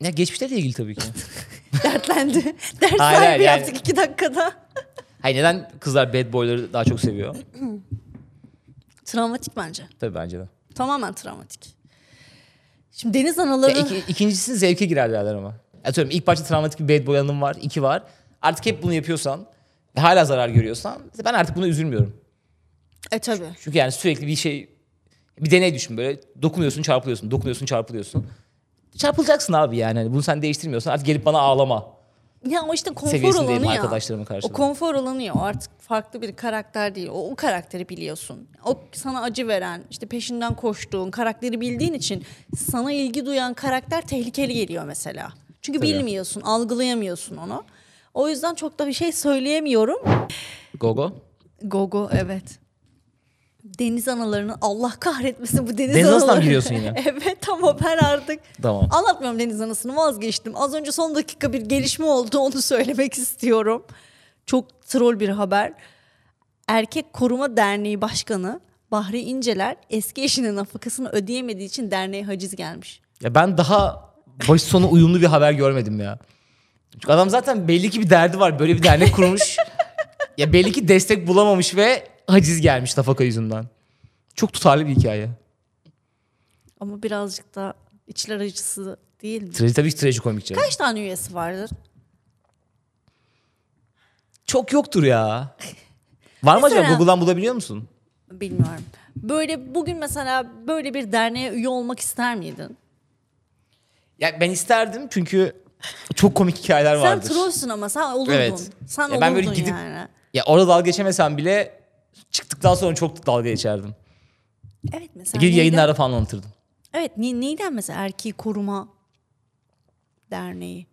Speaker 3: ya geçmişle de ilgili tabii ki.
Speaker 2: Dertlendi. Ders
Speaker 3: Hayır,
Speaker 2: sahibi
Speaker 3: yani-
Speaker 2: yaptık iki dakikada.
Speaker 3: Hayır neden kızlar bad boyları daha çok seviyor?
Speaker 2: Travmatik bence.
Speaker 3: Tabii bence de.
Speaker 2: Tamamen travmatik. Şimdi deniz
Speaker 3: Ya
Speaker 2: anaları...
Speaker 3: iki- ikincisi zevke girer derler ama. Atıyorum ilk başta travmatik bir bad boy anım var. iki var. Artık hep bunu yapıyorsan ve hala zarar görüyorsan ben artık buna üzülmüyorum.
Speaker 2: E tabii.
Speaker 3: Çünkü yani sürekli bir şey bir deney düşün böyle dokunuyorsun çarpılıyorsun dokunuyorsun çarpılıyorsun. Çarpılacaksın abi yani Hani bunu sen değiştirmiyorsan artık gelip bana ağlama.
Speaker 2: Ya o işte konfor
Speaker 3: Seviyesindeyim
Speaker 2: alanı ya.
Speaker 3: arkadaşlarımın karşısında.
Speaker 2: O konfor alanı ya. O artık farklı bir karakter değil. O, o karakteri biliyorsun. O sana acı veren, işte peşinden koştuğun karakteri bildiğin için sana ilgi duyan karakter tehlikeli geliyor mesela. Çünkü
Speaker 3: Tabii.
Speaker 2: bilmiyorsun, algılayamıyorsun onu. O yüzden çok da bir şey söyleyemiyorum.
Speaker 3: Gogo.
Speaker 2: Gogo evet. Deniz analarını Allah kahretmesin bu deniz,
Speaker 3: Deniz
Speaker 2: analarını.
Speaker 3: anasından giriyorsun yine.
Speaker 2: evet ama ben artık
Speaker 3: Tamam.
Speaker 2: anlatmıyorum deniz anasını vazgeçtim. Az önce son dakika bir gelişme oldu onu söylemek istiyorum. Çok troll bir haber. Erkek Koruma Derneği Başkanı Bahri İnceler eski eşinin nafakasını ödeyemediği için derneğe haciz gelmiş.
Speaker 3: Ya ben daha başı sonu uyumlu bir haber görmedim ya. Çünkü adam zaten belli ki bir derdi var. Böyle bir dernek kurmuş. ya belli ki destek bulamamış ve haciz gelmiş nafaka yüzünden. Çok tutarlı bir hikaye.
Speaker 2: Ama birazcık da içler acısı değil mi?
Speaker 3: Traji, tabii ki trajikomik canım.
Speaker 2: Kaç tane üyesi vardır?
Speaker 3: Çok yoktur ya. Var mı acaba?
Speaker 2: Mesela-
Speaker 3: Google'dan bulabiliyor musun?
Speaker 2: Bilmiyorum. Böyle bugün mesela böyle bir derneğe üye olmak ister miydin?
Speaker 3: Ya ben isterdim çünkü çok komik hikayeler
Speaker 2: Sen
Speaker 3: vardır.
Speaker 2: trollsün ama sen olurdun.
Speaker 3: Evet.
Speaker 2: Sen
Speaker 3: Ya
Speaker 2: olurdun
Speaker 3: ben böyle gidip-
Speaker 2: yani.
Speaker 3: Ya orada dalga geçemesem bile çıktıktan sonra çok dalga geçerdim.
Speaker 2: Evet mesela.
Speaker 3: Gidip
Speaker 2: neyden-
Speaker 3: yayınlarda falan anlatırdım.
Speaker 2: Evet ne, neyden mesela erkeği koruma derneği.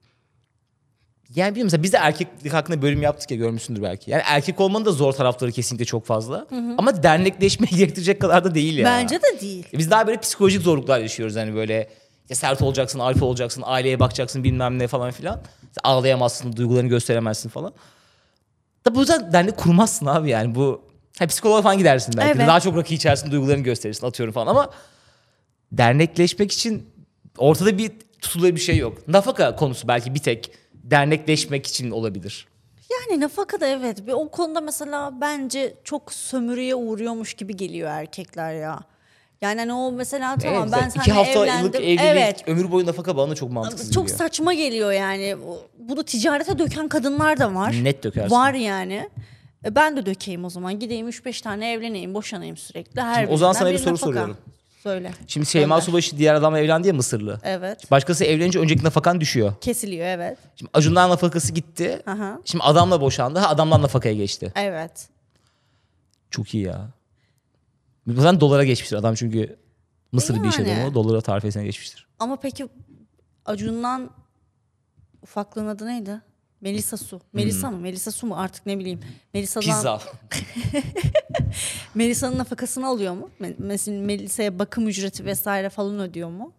Speaker 3: Yani bilmiyorum mesela biz de erkeklik hakkında bölüm yaptık ya görmüşsündür belki. Yani erkek olmanın da zor tarafları kesinlikle çok fazla. Ama dernekleşmeyi gerektirecek kadar da değil ya.
Speaker 2: Bence de değil.
Speaker 3: Biz daha böyle psikolojik zorluklar yaşıyoruz hani böyle ya sert olacaksın, alfa olacaksın, aileye bakacaksın bilmem ne falan filan. Ağlayamazsın, duygularını gösteremezsin falan. Da bu yüzden dernek kurmazsın abi yani bu. Ha, psikoloğa falan gidersin belki. de.
Speaker 2: Evet.
Speaker 3: Daha çok rakı içersin, duygularını gösterirsin atıyorum falan ama dernekleşmek için ortada bir tutulur bir şey yok. Nafaka konusu belki bir tek dernekleşmek için olabilir.
Speaker 2: Yani nafaka da evet. Bir O konuda mesela bence çok sömürüye uğruyormuş gibi geliyor erkekler ya. Yani hani o mesela tamam
Speaker 3: Evet,
Speaker 2: ben
Speaker 3: iki
Speaker 2: seninle
Speaker 3: hafta
Speaker 2: evlendim.
Speaker 3: yıllık evlilik,
Speaker 2: evet.
Speaker 3: ömür boyu nafaka bana çok mantıksız
Speaker 2: Çok
Speaker 3: geliyor.
Speaker 2: saçma geliyor yani. O- Bunu ticarete döken kadınlar da var.
Speaker 3: Net dökersin.
Speaker 2: Var yani. E Ben de dökeyim o zaman. Gideyim 3-5 tane evleneyim, boşanayım sürekli. Her
Speaker 3: Şimdi o zaman
Speaker 2: birinden
Speaker 3: sana bir soru
Speaker 2: nafaka.
Speaker 3: soruyorum.
Speaker 2: Söyle.
Speaker 3: Şimdi Şeyma
Speaker 2: Gönder.
Speaker 3: Subaşı diğer adamla evlendi ya Mısırlı.
Speaker 2: Evet.
Speaker 3: Başkası evlenince önceki nafakan düşüyor.
Speaker 2: Kesiliyor evet.
Speaker 3: Şimdi Acun'dan nafakası gitti.
Speaker 2: Aha.
Speaker 3: Şimdi adamla boşandı. Ha, adamdan nafakaya geçti.
Speaker 2: Evet.
Speaker 3: Çok iyi ya. Zaten dolara geçmiştir adam çünkü Mısır bir iş
Speaker 2: Yani.
Speaker 3: adamı. Dolara tarifesine geçmiştir.
Speaker 2: Ama peki Acun'dan ufaklığın adı neydi? Melisa Su. Melisa mı? Melisa Su mu? Artık ne bileyim. Melisa'dan
Speaker 3: Hmm. Pizza.
Speaker 2: Melisa'nın nafakasını alıyor mu? Me- Mesela Melisa'ya bakım ücreti vesaire falan ödüyor mu?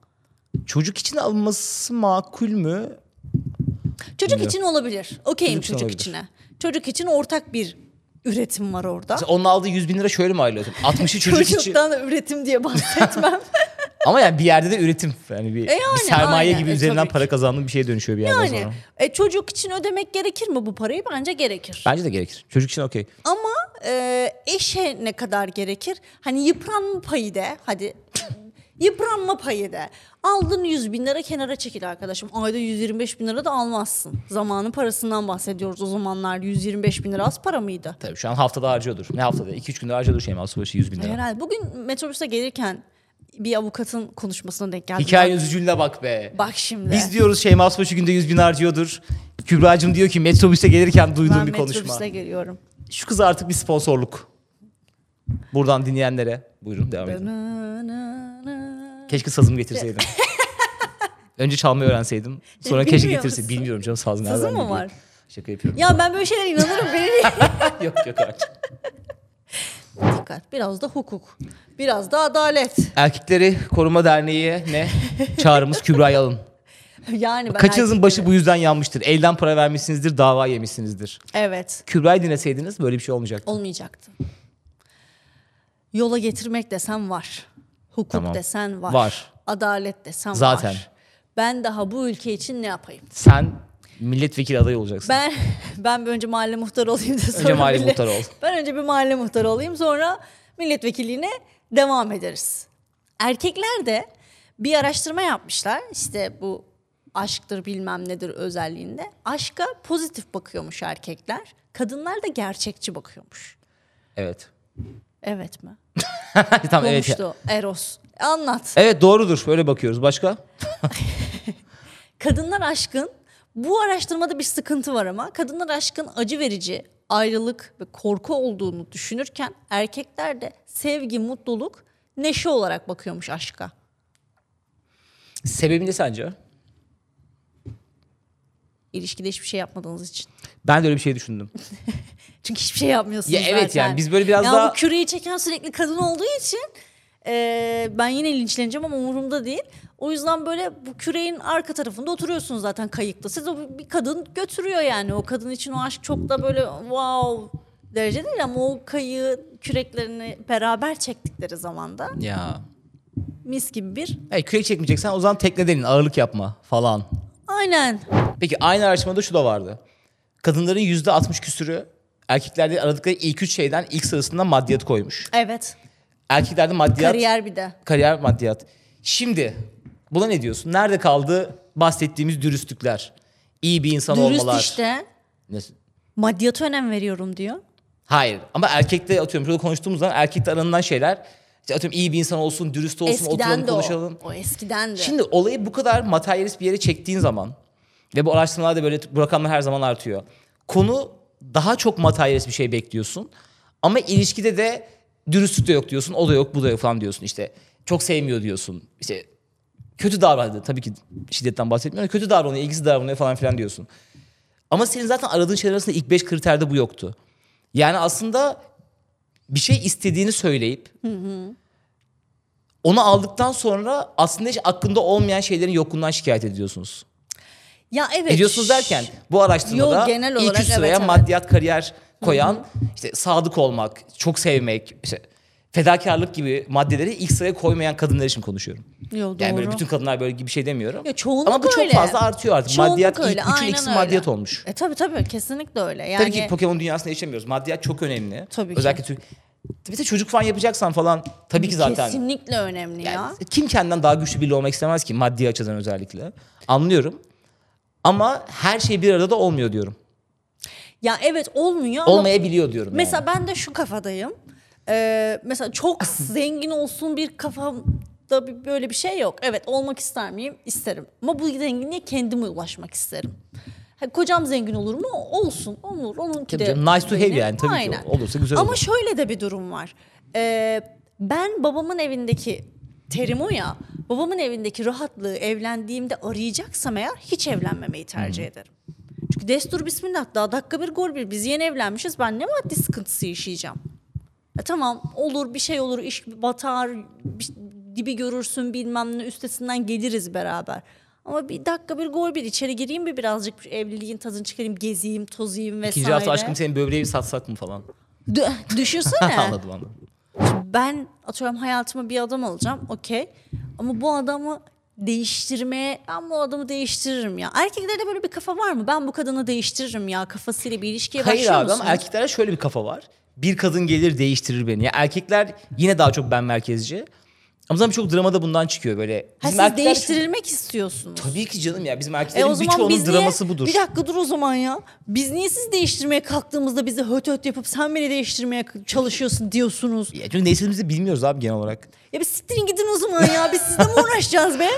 Speaker 3: Çocuk için alınması makul
Speaker 2: Ah.
Speaker 3: mü?
Speaker 2: Çocuk
Speaker 3: Bilmiyorum.
Speaker 2: için olabilir. Okeyim
Speaker 3: Çocuk için
Speaker 2: çocuk,
Speaker 3: olabilir.
Speaker 2: içine. Çocuk için ortak bir üretim var orada.
Speaker 3: Mesela onun aldığı 100 bin lira şöyle mi ayrılıyor? 60'ı çocuk için.
Speaker 2: Çocuktan üretim diye bahsetmem.
Speaker 3: Ama yani bir yerde de üretim. Yani bir,
Speaker 2: yani,
Speaker 3: bir sermaye
Speaker 2: aynen.
Speaker 3: gibi
Speaker 2: E,
Speaker 3: üzerinden
Speaker 2: tabii ki.
Speaker 3: para kazandığın bir şeye dönüşüyor bir yerden
Speaker 2: yani
Speaker 3: sonra.
Speaker 2: e, çocuk için ödemek gerekir mi bu parayı? Bence gerekir.
Speaker 3: Bence de gerekir. Çocuk için okey.
Speaker 2: Ama e, eşe ne kadar gerekir? Hani yıpranma payı de hadi yıpranma payı de. Aldın 100 bin lira kenara çekil arkadaşım. Ayda 125 bin lira da almazsın. Zamanın parasından bahsediyoruz o zamanlar. 125 bin lira az para mıydı?
Speaker 3: Tabii şu an haftada harcıyordur. Ne haftada? 2-3 günde harcıyordur Şeyma Subaşı 100 bin lira.
Speaker 2: Herhalde. Bugün metrobüse gelirken bir avukatın konuşmasına denk geldim.
Speaker 3: Hikayenin üzücülüğüne bak be.
Speaker 2: Bak şimdi.
Speaker 3: Biz diyoruz Şeyma Subaşı günde 100 bin harcıyordur. Kübra'cığım diyor ki metrobüse gelirken duyduğum
Speaker 2: ben
Speaker 3: bir konuşma.
Speaker 2: metrobüse geliyorum.
Speaker 3: Şu kıza artık bir sponsorluk. Buradan dinleyenlere. Buyurun devam edin. Keşke sazımı getirseydim. Önce çalmayı öğrenseydim. Sonra
Speaker 2: Bilmiyor
Speaker 3: keşke
Speaker 2: musun?
Speaker 3: getirseydim. Bilmiyorum canım saz nereden
Speaker 2: Sazın mı
Speaker 3: bileyim.
Speaker 2: var?
Speaker 3: Şaka yapıyorum.
Speaker 2: Ya ben böyle şeylere inanırım. Beni niye-
Speaker 3: yok yok artık.
Speaker 2: Dikkat. Biraz da hukuk. Biraz da adalet.
Speaker 3: Erkekleri Koruma Derneği ne? Çağrımız Kübra Yalın.
Speaker 2: Yani ben
Speaker 3: Kaçınızın
Speaker 2: erkek-
Speaker 3: başı bu yüzden yanmıştır. Elden para vermişsinizdir, dava yemişsinizdir.
Speaker 2: Evet.
Speaker 3: Kübra'yı dinleseydiniz böyle bir şey olmayacaktı.
Speaker 2: Olmayacaktı. Yola getirmek desen var. Hukuk
Speaker 3: Tamam.
Speaker 2: desen var.
Speaker 3: Var.
Speaker 2: Adalet desen
Speaker 3: Zaten.
Speaker 2: var. Ben daha bu ülke için ne yapayım?
Speaker 3: Sen milletvekili adayı olacaksın.
Speaker 2: Ben ben bir önce mahalle muhtarı olayım da sonra
Speaker 3: mahalle
Speaker 2: millet-
Speaker 3: muhtarı ol.
Speaker 2: Ben önce bir mahalle muhtarı olayım sonra milletvekilliğine devam ederiz. Erkekler de bir araştırma yapmışlar. İşte bu aşktır bilmem nedir özelliğinde. Aşka pozitif bakıyormuş erkekler. Kadınlar da gerçekçi bakıyormuş.
Speaker 3: Evet.
Speaker 2: Evet mi?
Speaker 3: tamam evet.
Speaker 2: Konuştu Eros. Anlat.
Speaker 3: Evet doğrudur. Böyle bakıyoruz. Başka?
Speaker 2: Kadınlar aşkın bu araştırmada bir sıkıntı var ama kadınlar aşkın acı verici, ayrılık ve korku olduğunu düşünürken erkekler de sevgi, mutluluk, neşe olarak bakıyormuş aşka.
Speaker 3: Sebebi ne sence?
Speaker 2: İlişkide hiçbir şey yapmadığınız için.
Speaker 3: Ben de öyle bir şey düşündüm.
Speaker 2: Çünkü hiçbir şey yapmıyorsunuz
Speaker 3: Ya evet
Speaker 2: zaten.
Speaker 3: yani biz böyle biraz
Speaker 2: ya
Speaker 3: daha-
Speaker 2: bu küreyi çeken sürekli kadın olduğu için e, ben yine linçleneceğim ama umurumda değil. O yüzden böyle bu küreğin arka tarafında oturuyorsunuz zaten kayıkta. Siz o bir kadın götürüyor yani. O kadın için o aşk çok da böyle wow derece değil ama o kayığı küreklerini beraber çektikleri zamanda
Speaker 3: ya.
Speaker 2: mis gibi bir
Speaker 3: Hey, kürek çekmeyeceksen o zaman tekne denin ağırlık yapma falan.
Speaker 2: aynen
Speaker 3: Peki aynı araştırmada şu da vardı. Kadınların yüzde 60 küsürü erkeklerde aradıkları ilk üç şeyden ilk sırasında maddiyat koymuş.
Speaker 2: evet
Speaker 3: Erkeklerde maddiyat, kariyer,
Speaker 2: kariyer bir de.
Speaker 3: maddiyat. Şimdi buna ne diyorsun? Nerede kaldı bahsettiğimiz dürüstlükler? İyi bir insan
Speaker 2: Dürüst
Speaker 3: olmalar.
Speaker 2: işte
Speaker 3: Nasıl?
Speaker 2: maddiyata önem veriyorum diyor.
Speaker 3: Hayır ama erkekte atıyorum burada konuştuğumuz zaman erkekte aranılan şeyler işte atıyorum iyi bir insan olsun, dürüst olsun,
Speaker 2: Eskiden
Speaker 3: oturalım
Speaker 2: de
Speaker 3: konuşalım.
Speaker 2: o. O eskiden de.
Speaker 3: Şimdi olayı bu kadar materyalist bir yere çektiğin zaman Ve bu araştırmalarda böyle bu rakamlar her zaman artıyor. Konu daha çok materyalist bir şey bekliyorsun. Ama ilişkide de dürüstlük de yok diyorsun. O da yok, bu da yok falan diyorsun işte. Çok sevmiyor diyorsun. İşte kötü davrandı. Tabii ki şiddetten bahsetmiyorum. Kötü davranıyor, ilgisiz davranıyor falan filan diyorsun. Ama senin zaten aradığın şeyler arasında ilk beş kriterde bu yoktu. Yani aslında bir şey istediğini söyleyip onu aldıktan sonra aslında hiç aklında olmayan şeylerin yokluğundan şikayet ediyorsunuz.
Speaker 2: Ya evet.
Speaker 3: Ediyorsunuz derken bu araştırmada
Speaker 2: Yok, genel
Speaker 3: ilk
Speaker 2: olarak
Speaker 3: üç sıraya
Speaker 2: evet, evet.
Speaker 3: maddiyat kariyer koyan işte sadık olmak, çok sevmek, işte fedakarlık gibi maddeleri ilk sıraya koymayan kadınlar için konuşuyorum.
Speaker 2: Yo,
Speaker 3: Yani böyle
Speaker 2: doğru.
Speaker 3: bütün kadınlar böyle gibi bir şey demiyorum.
Speaker 2: Ya çoğunluk
Speaker 3: Ama bu çok
Speaker 2: öyle.
Speaker 3: fazla artıyor artık.
Speaker 2: Çoğunluk
Speaker 3: maddiyat
Speaker 2: öyle,
Speaker 3: ilk, üçün
Speaker 2: aynen
Speaker 3: ikisi
Speaker 2: öyle.
Speaker 3: maddiyat olmuş.
Speaker 2: E tabii tabii kesinlikle öyle. Yani
Speaker 3: Tabii ki Pokemon dünyasında yaşamıyoruz. Maddiyat çok önemli.
Speaker 2: Tabii ki.
Speaker 3: Özellikle Türk... Tabii de çocuk falan yapacaksan falan tabii ki zaten.
Speaker 2: kesinlikle önemli ya.
Speaker 3: E, Kim kendinden daha güçlü biri olmak istemez ki maddi açıdan özellikle. Anlıyorum. Ama her şey bir arada da olmuyor diyorum.
Speaker 2: Ya evet olmuyor ama
Speaker 3: Olmayabiliyor diyorum. yani.
Speaker 2: Mesela ben de şu kafadayım. Ee, mesela çok zengin olsun bir kafamda bir- böyle bir şey yok. Evet olmak ister miyim? İsterim. Ama bu zenginliğe kendime ulaşmak isterim. Ha, kocam zengin olur mu? Olsun. Olur. Onunki
Speaker 3: Tabii
Speaker 2: de.
Speaker 3: canım, nice to have
Speaker 2: benim.
Speaker 3: yani, tabii ki. Olursa güzel
Speaker 2: Ama
Speaker 3: olur.
Speaker 2: şöyle de bir durum var. Ee, ben babamın evindeki terim o ya. Babamın evindeki rahatlığı evlendiğimde arayacaksam eğer hiç evlenmemeyi tercih
Speaker 3: Hmm.
Speaker 2: ederim. Çünkü destur bismillah daha dakika bir gol bir biz yeni evlenmişiz ben ne maddi sıkıntısı yaşayacağım. Ya tamam olur bir şey olur iş batar bir- dibi görürsün bilmem ne üstesinden geliriz beraber. Ama bir dakika bir gol bir içeri gireyim bir birazcık bir evliliğin tadını çıkarayım gezeyim tozayım vesaire.
Speaker 3: İkinci hafta aşkım senin böbreği bir satsak mı falan.
Speaker 2: Dü- düşünsene.
Speaker 3: anladım anladım.
Speaker 2: ben atıyorum hayatıma bir adam alacağım okey. Ama bu adamı değiştirmeye ben bu adamı değiştiririm ya. Erkeklerde böyle bir kafa var mı? Ben bu kadını değiştiririm ya kafasıyla bir ilişkiye
Speaker 3: Hayır
Speaker 2: başlıyor
Speaker 3: abi ama
Speaker 2: musunuz?
Speaker 3: erkeklerde şöyle bir kafa var. Bir kadın gelir değiştirir beni. Yani erkekler yine daha çok ben merkezci. Ama zaten çok dramada bundan çıkıyor böyle.
Speaker 2: Ha,
Speaker 3: Bizim
Speaker 2: siz
Speaker 3: erkekler-
Speaker 2: değiştirilmek istiyorsunuz.
Speaker 3: Tabii ki canım ya bizim
Speaker 2: E o
Speaker 3: erkeklerin
Speaker 2: zaman
Speaker 3: birçoğunun
Speaker 2: biz niye,
Speaker 3: draması budur.
Speaker 2: bir dakika dur o zaman ya. Biz niye siz değiştirmeye kalktığımızda bizi höt höt yapıp sen beni değiştirmeye çalışıyorsun diyorsunuz.
Speaker 3: Ya çünkü ne istediğimizi bilmiyoruz abi genel olarak.
Speaker 2: Ya bir siktirin gidin o zaman ya. Biz sizinle mi uğraşacağız be?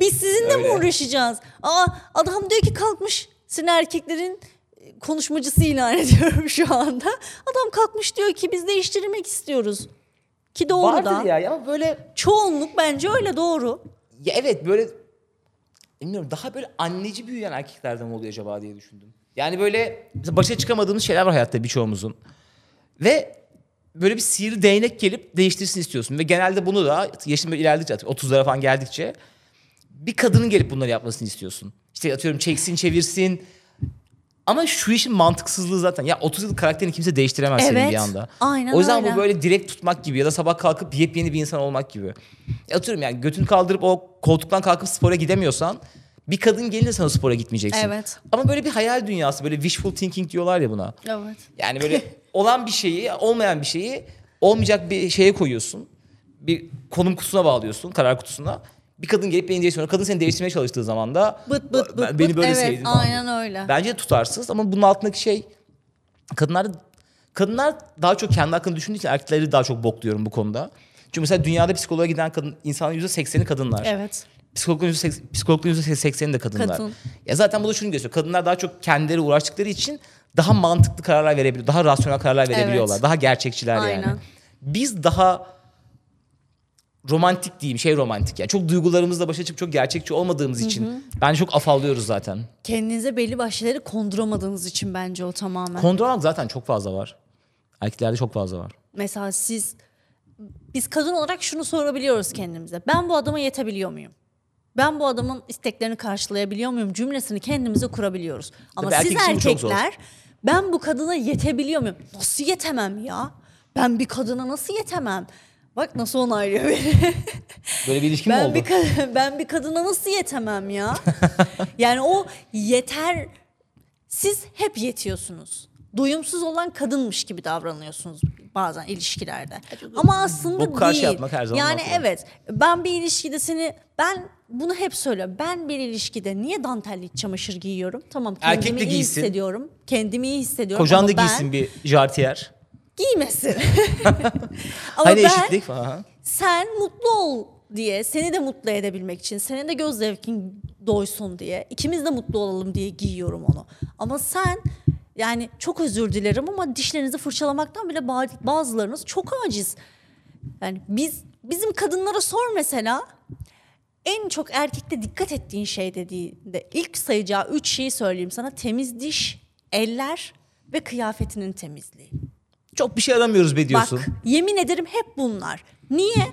Speaker 2: Biz sizinle mi
Speaker 3: Öyle.
Speaker 2: uğraşacağız? Aa adam diyor ki kalkmış. Seni erkeklerin e, konuşmacısı ilan ediyorum şu anda. Adam kalkmış diyor ki biz değiştirmek istiyoruz. Ki doğru da.
Speaker 3: Vardır ya ama böyle
Speaker 2: Çoğunluk bence öyle doğru.
Speaker 3: Ya evet böyle bilmiyorum daha böyle anneci büyüyen erkeklerden mi oluyor acaba diye düşündüm. Yani böyle mesela başa çıkamadığımız şeyler var hayatta birçoğumuzun. Ve böyle bir sihirli değnek gelip değiştirsin istiyorsun. Ve genelde bunu da yaşın böyle ilerledikçe artık 30'lara falan geldikçe bir kadının gelip bunları yapmasını istiyorsun. İşte atıyorum çeksin çevirsin. Ama şu işin mantıksızlığı zaten. Ya 30 yıllık karakterini kimse değiştiremez senin
Speaker 2: Evet,
Speaker 3: bir anda.
Speaker 2: aynen
Speaker 3: O yüzden
Speaker 2: öyle.
Speaker 3: bu böyle direkt tutmak gibi ya da sabah kalkıp yepyeni bir insan olmak gibi. E, Atıyorum yani götünü kaldırıp o koltuktan kalkıp spora gidemiyorsan bir kadın gelince sana spora gitmeyeceksin.
Speaker 2: Evet.
Speaker 3: Ama böyle bir hayal dünyası böyle wishful thinking diyorlar ya buna.
Speaker 2: Evet.
Speaker 3: Yani böyle olan bir şeyi, olmayan bir şeyi olmayacak bir şeye koyuyorsun. Bir konum kutusuna bağlıyorsun, karar kutusuna. Bir kadın gelip beni değiştiriyor. Kadın seni değiştirmeye çalıştığı zaman da
Speaker 2: Bıt bıt bıt.
Speaker 3: "Ben- beni
Speaker 2: bıt.
Speaker 3: böyle
Speaker 2: evet,
Speaker 3: sevdin falan diyor.
Speaker 2: Aynen öyle.
Speaker 3: Bence de tutarsız ama bunun altındaki şey kadınlar kadınlar daha çok kendi hakkında düşündüğü için erkekleri daha çok bokluyorum bu konuda. Çünkü mesela dünyada psikoloğa giden kadın insanın %80'i kadınlar.
Speaker 2: Evet.
Speaker 3: Psikologun %80 psikologun %80'i de kadınlar.
Speaker 2: Kadın.
Speaker 3: Ya zaten bu da şunu gösteriyor. Kadınlar daha çok kendileri uğraştıkları için daha mantıklı kararlar verebiliyor. Daha rasyonel kararlar verebiliyorlar.
Speaker 2: Evet.
Speaker 3: Daha gerçekçiler yani.
Speaker 2: Aynen.
Speaker 3: Biz daha romantik diyeyim şey romantik yani çok duygularımızla başa çıkıp çok gerçekçi olmadığımız için bence çok afallıyoruz zaten.
Speaker 2: Kendinize belli başlı şeyleri konduramadığınız için bence o tamamen.
Speaker 3: Kontrol almak zaten çok fazla var. Erkeklerde çok fazla var.
Speaker 2: Mesela siz biz kadın olarak şunu sorabiliyoruz kendimize. Ben bu adama yetebiliyor muyum? Ben bu adamın isteklerini karşılayabiliyor muyum cümlesini kendimize kurabiliyoruz. Ama
Speaker 3: Tabii
Speaker 2: siz
Speaker 3: erkek için bu çok zor.
Speaker 2: erkekler ben bu kadına yetebiliyor muyum? Nasıl yetemem ya? Ben bir kadına nasıl yetemem? Bak nasıl onaylıyor beni.
Speaker 3: Böyle bir ilişki mi
Speaker 2: Ben
Speaker 3: oldu?
Speaker 2: bir kad- ben bir kadına nasıl yetemem ya? yani o yeter siz hep yetiyorsunuz. Doyumsuz olan kadınmış gibi davranıyorsunuz bazen ilişkilerde. Ama aslında
Speaker 3: bok karşı
Speaker 2: değil.
Speaker 3: yapmak her zaman
Speaker 2: yani
Speaker 3: haklı.
Speaker 2: evet ben bir ilişkide seni ben bunu hep söylüyorum. Ben bir ilişkide niye dantelli iç çamaşır giyiyorum? Tamam
Speaker 3: Erkek
Speaker 2: kendimi
Speaker 3: de
Speaker 2: iyi
Speaker 3: giysin.
Speaker 2: hissediyorum. Kendimi iyi hissediyorum.
Speaker 3: Kocan
Speaker 2: ama
Speaker 3: da
Speaker 2: ben-
Speaker 3: giysin bir jartiyer.
Speaker 2: Giymesin. ama
Speaker 3: Hani
Speaker 2: ben
Speaker 3: eşitlik falan.
Speaker 2: sen mutlu ol diye seni de mutlu edebilmek için senin de göz zevkin doysun diye, ikimiz de mutlu olalım diye giyiyorum onu. Ama sen yani çok özür dilerim ama dişlerinizi fırçalamaktan bile ba- bazılarınız çok aciz. Yani biz bizim kadınlara sor mesela en çok erkekte dikkat ettiğin şey dediğinde ilk sayacağı üç şeyi söyleyeyim sana. Temiz diş, eller ve kıyafetinin temizliği.
Speaker 3: Çok bir şey aramıyoruz be diyorsun.
Speaker 2: Bak yemin ederim hep bunlar. Niye?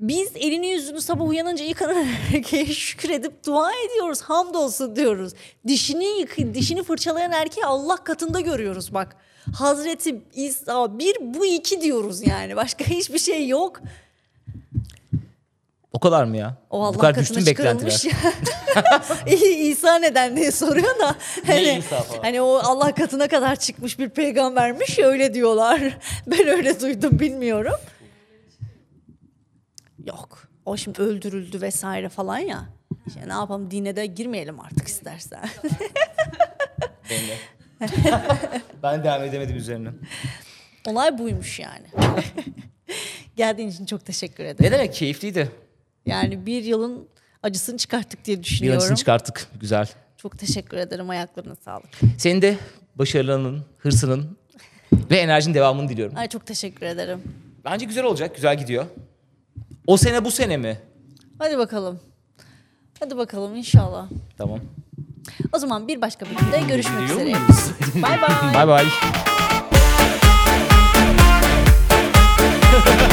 Speaker 2: Biz elini yüzünü sabah uyanınca yıkanan erkeğe şükür edip dua ediyoruz. Hamdolsun diyoruz. Dişini yıkı, dişini fırçalayan erkeği Allah katında görüyoruz bak. Hazreti İsa bir bu iki diyoruz yani. Başka hiçbir şey yok.
Speaker 3: O kadar mı ya?
Speaker 2: O Allah
Speaker 3: Bu kadar düştü
Speaker 2: katına
Speaker 3: mü beklentiler?
Speaker 2: çıkarılmış ya. İyi, İsa neden diye soruyor da. Hani,
Speaker 3: İsa falan?
Speaker 2: hani o Allah katına kadar çıkmış bir peygambermiş ya, öyle diyorlar. Ben öyle duydum bilmiyorum. Yok. O şimdi öldürüldü vesaire falan ya. İşte ne yapalım dine de girmeyelim artık istersen.
Speaker 3: Ben de. ben devam edemedim üzerine.
Speaker 2: Olay buymuş yani. Geldiğin için çok teşekkür ederim.
Speaker 3: Ne demek keyifliydi.
Speaker 2: Yani bir yılın acısını çıkarttık diye
Speaker 3: Bir
Speaker 2: düşünüyorum.
Speaker 3: acısını çıkarttık. Güzel.
Speaker 2: çok teşekkür ederim. Ayaklarına sağlık.
Speaker 3: Senin de başarılarının, hırsının ve enerjinin devamını diliyorum.
Speaker 2: Ay çok teşekkür ederim.
Speaker 3: Bence güzel olacak. Güzel gidiyor. O sene bu sene mi?
Speaker 2: Hadi bakalım. Hadi bakalım inşallah.
Speaker 3: Tamam.
Speaker 2: O zaman bir başka bölümde görüşmek
Speaker 1: Deliriyor
Speaker 2: üzere.
Speaker 1: muyuz?
Speaker 2: Bay bay.
Speaker 3: Bay bay.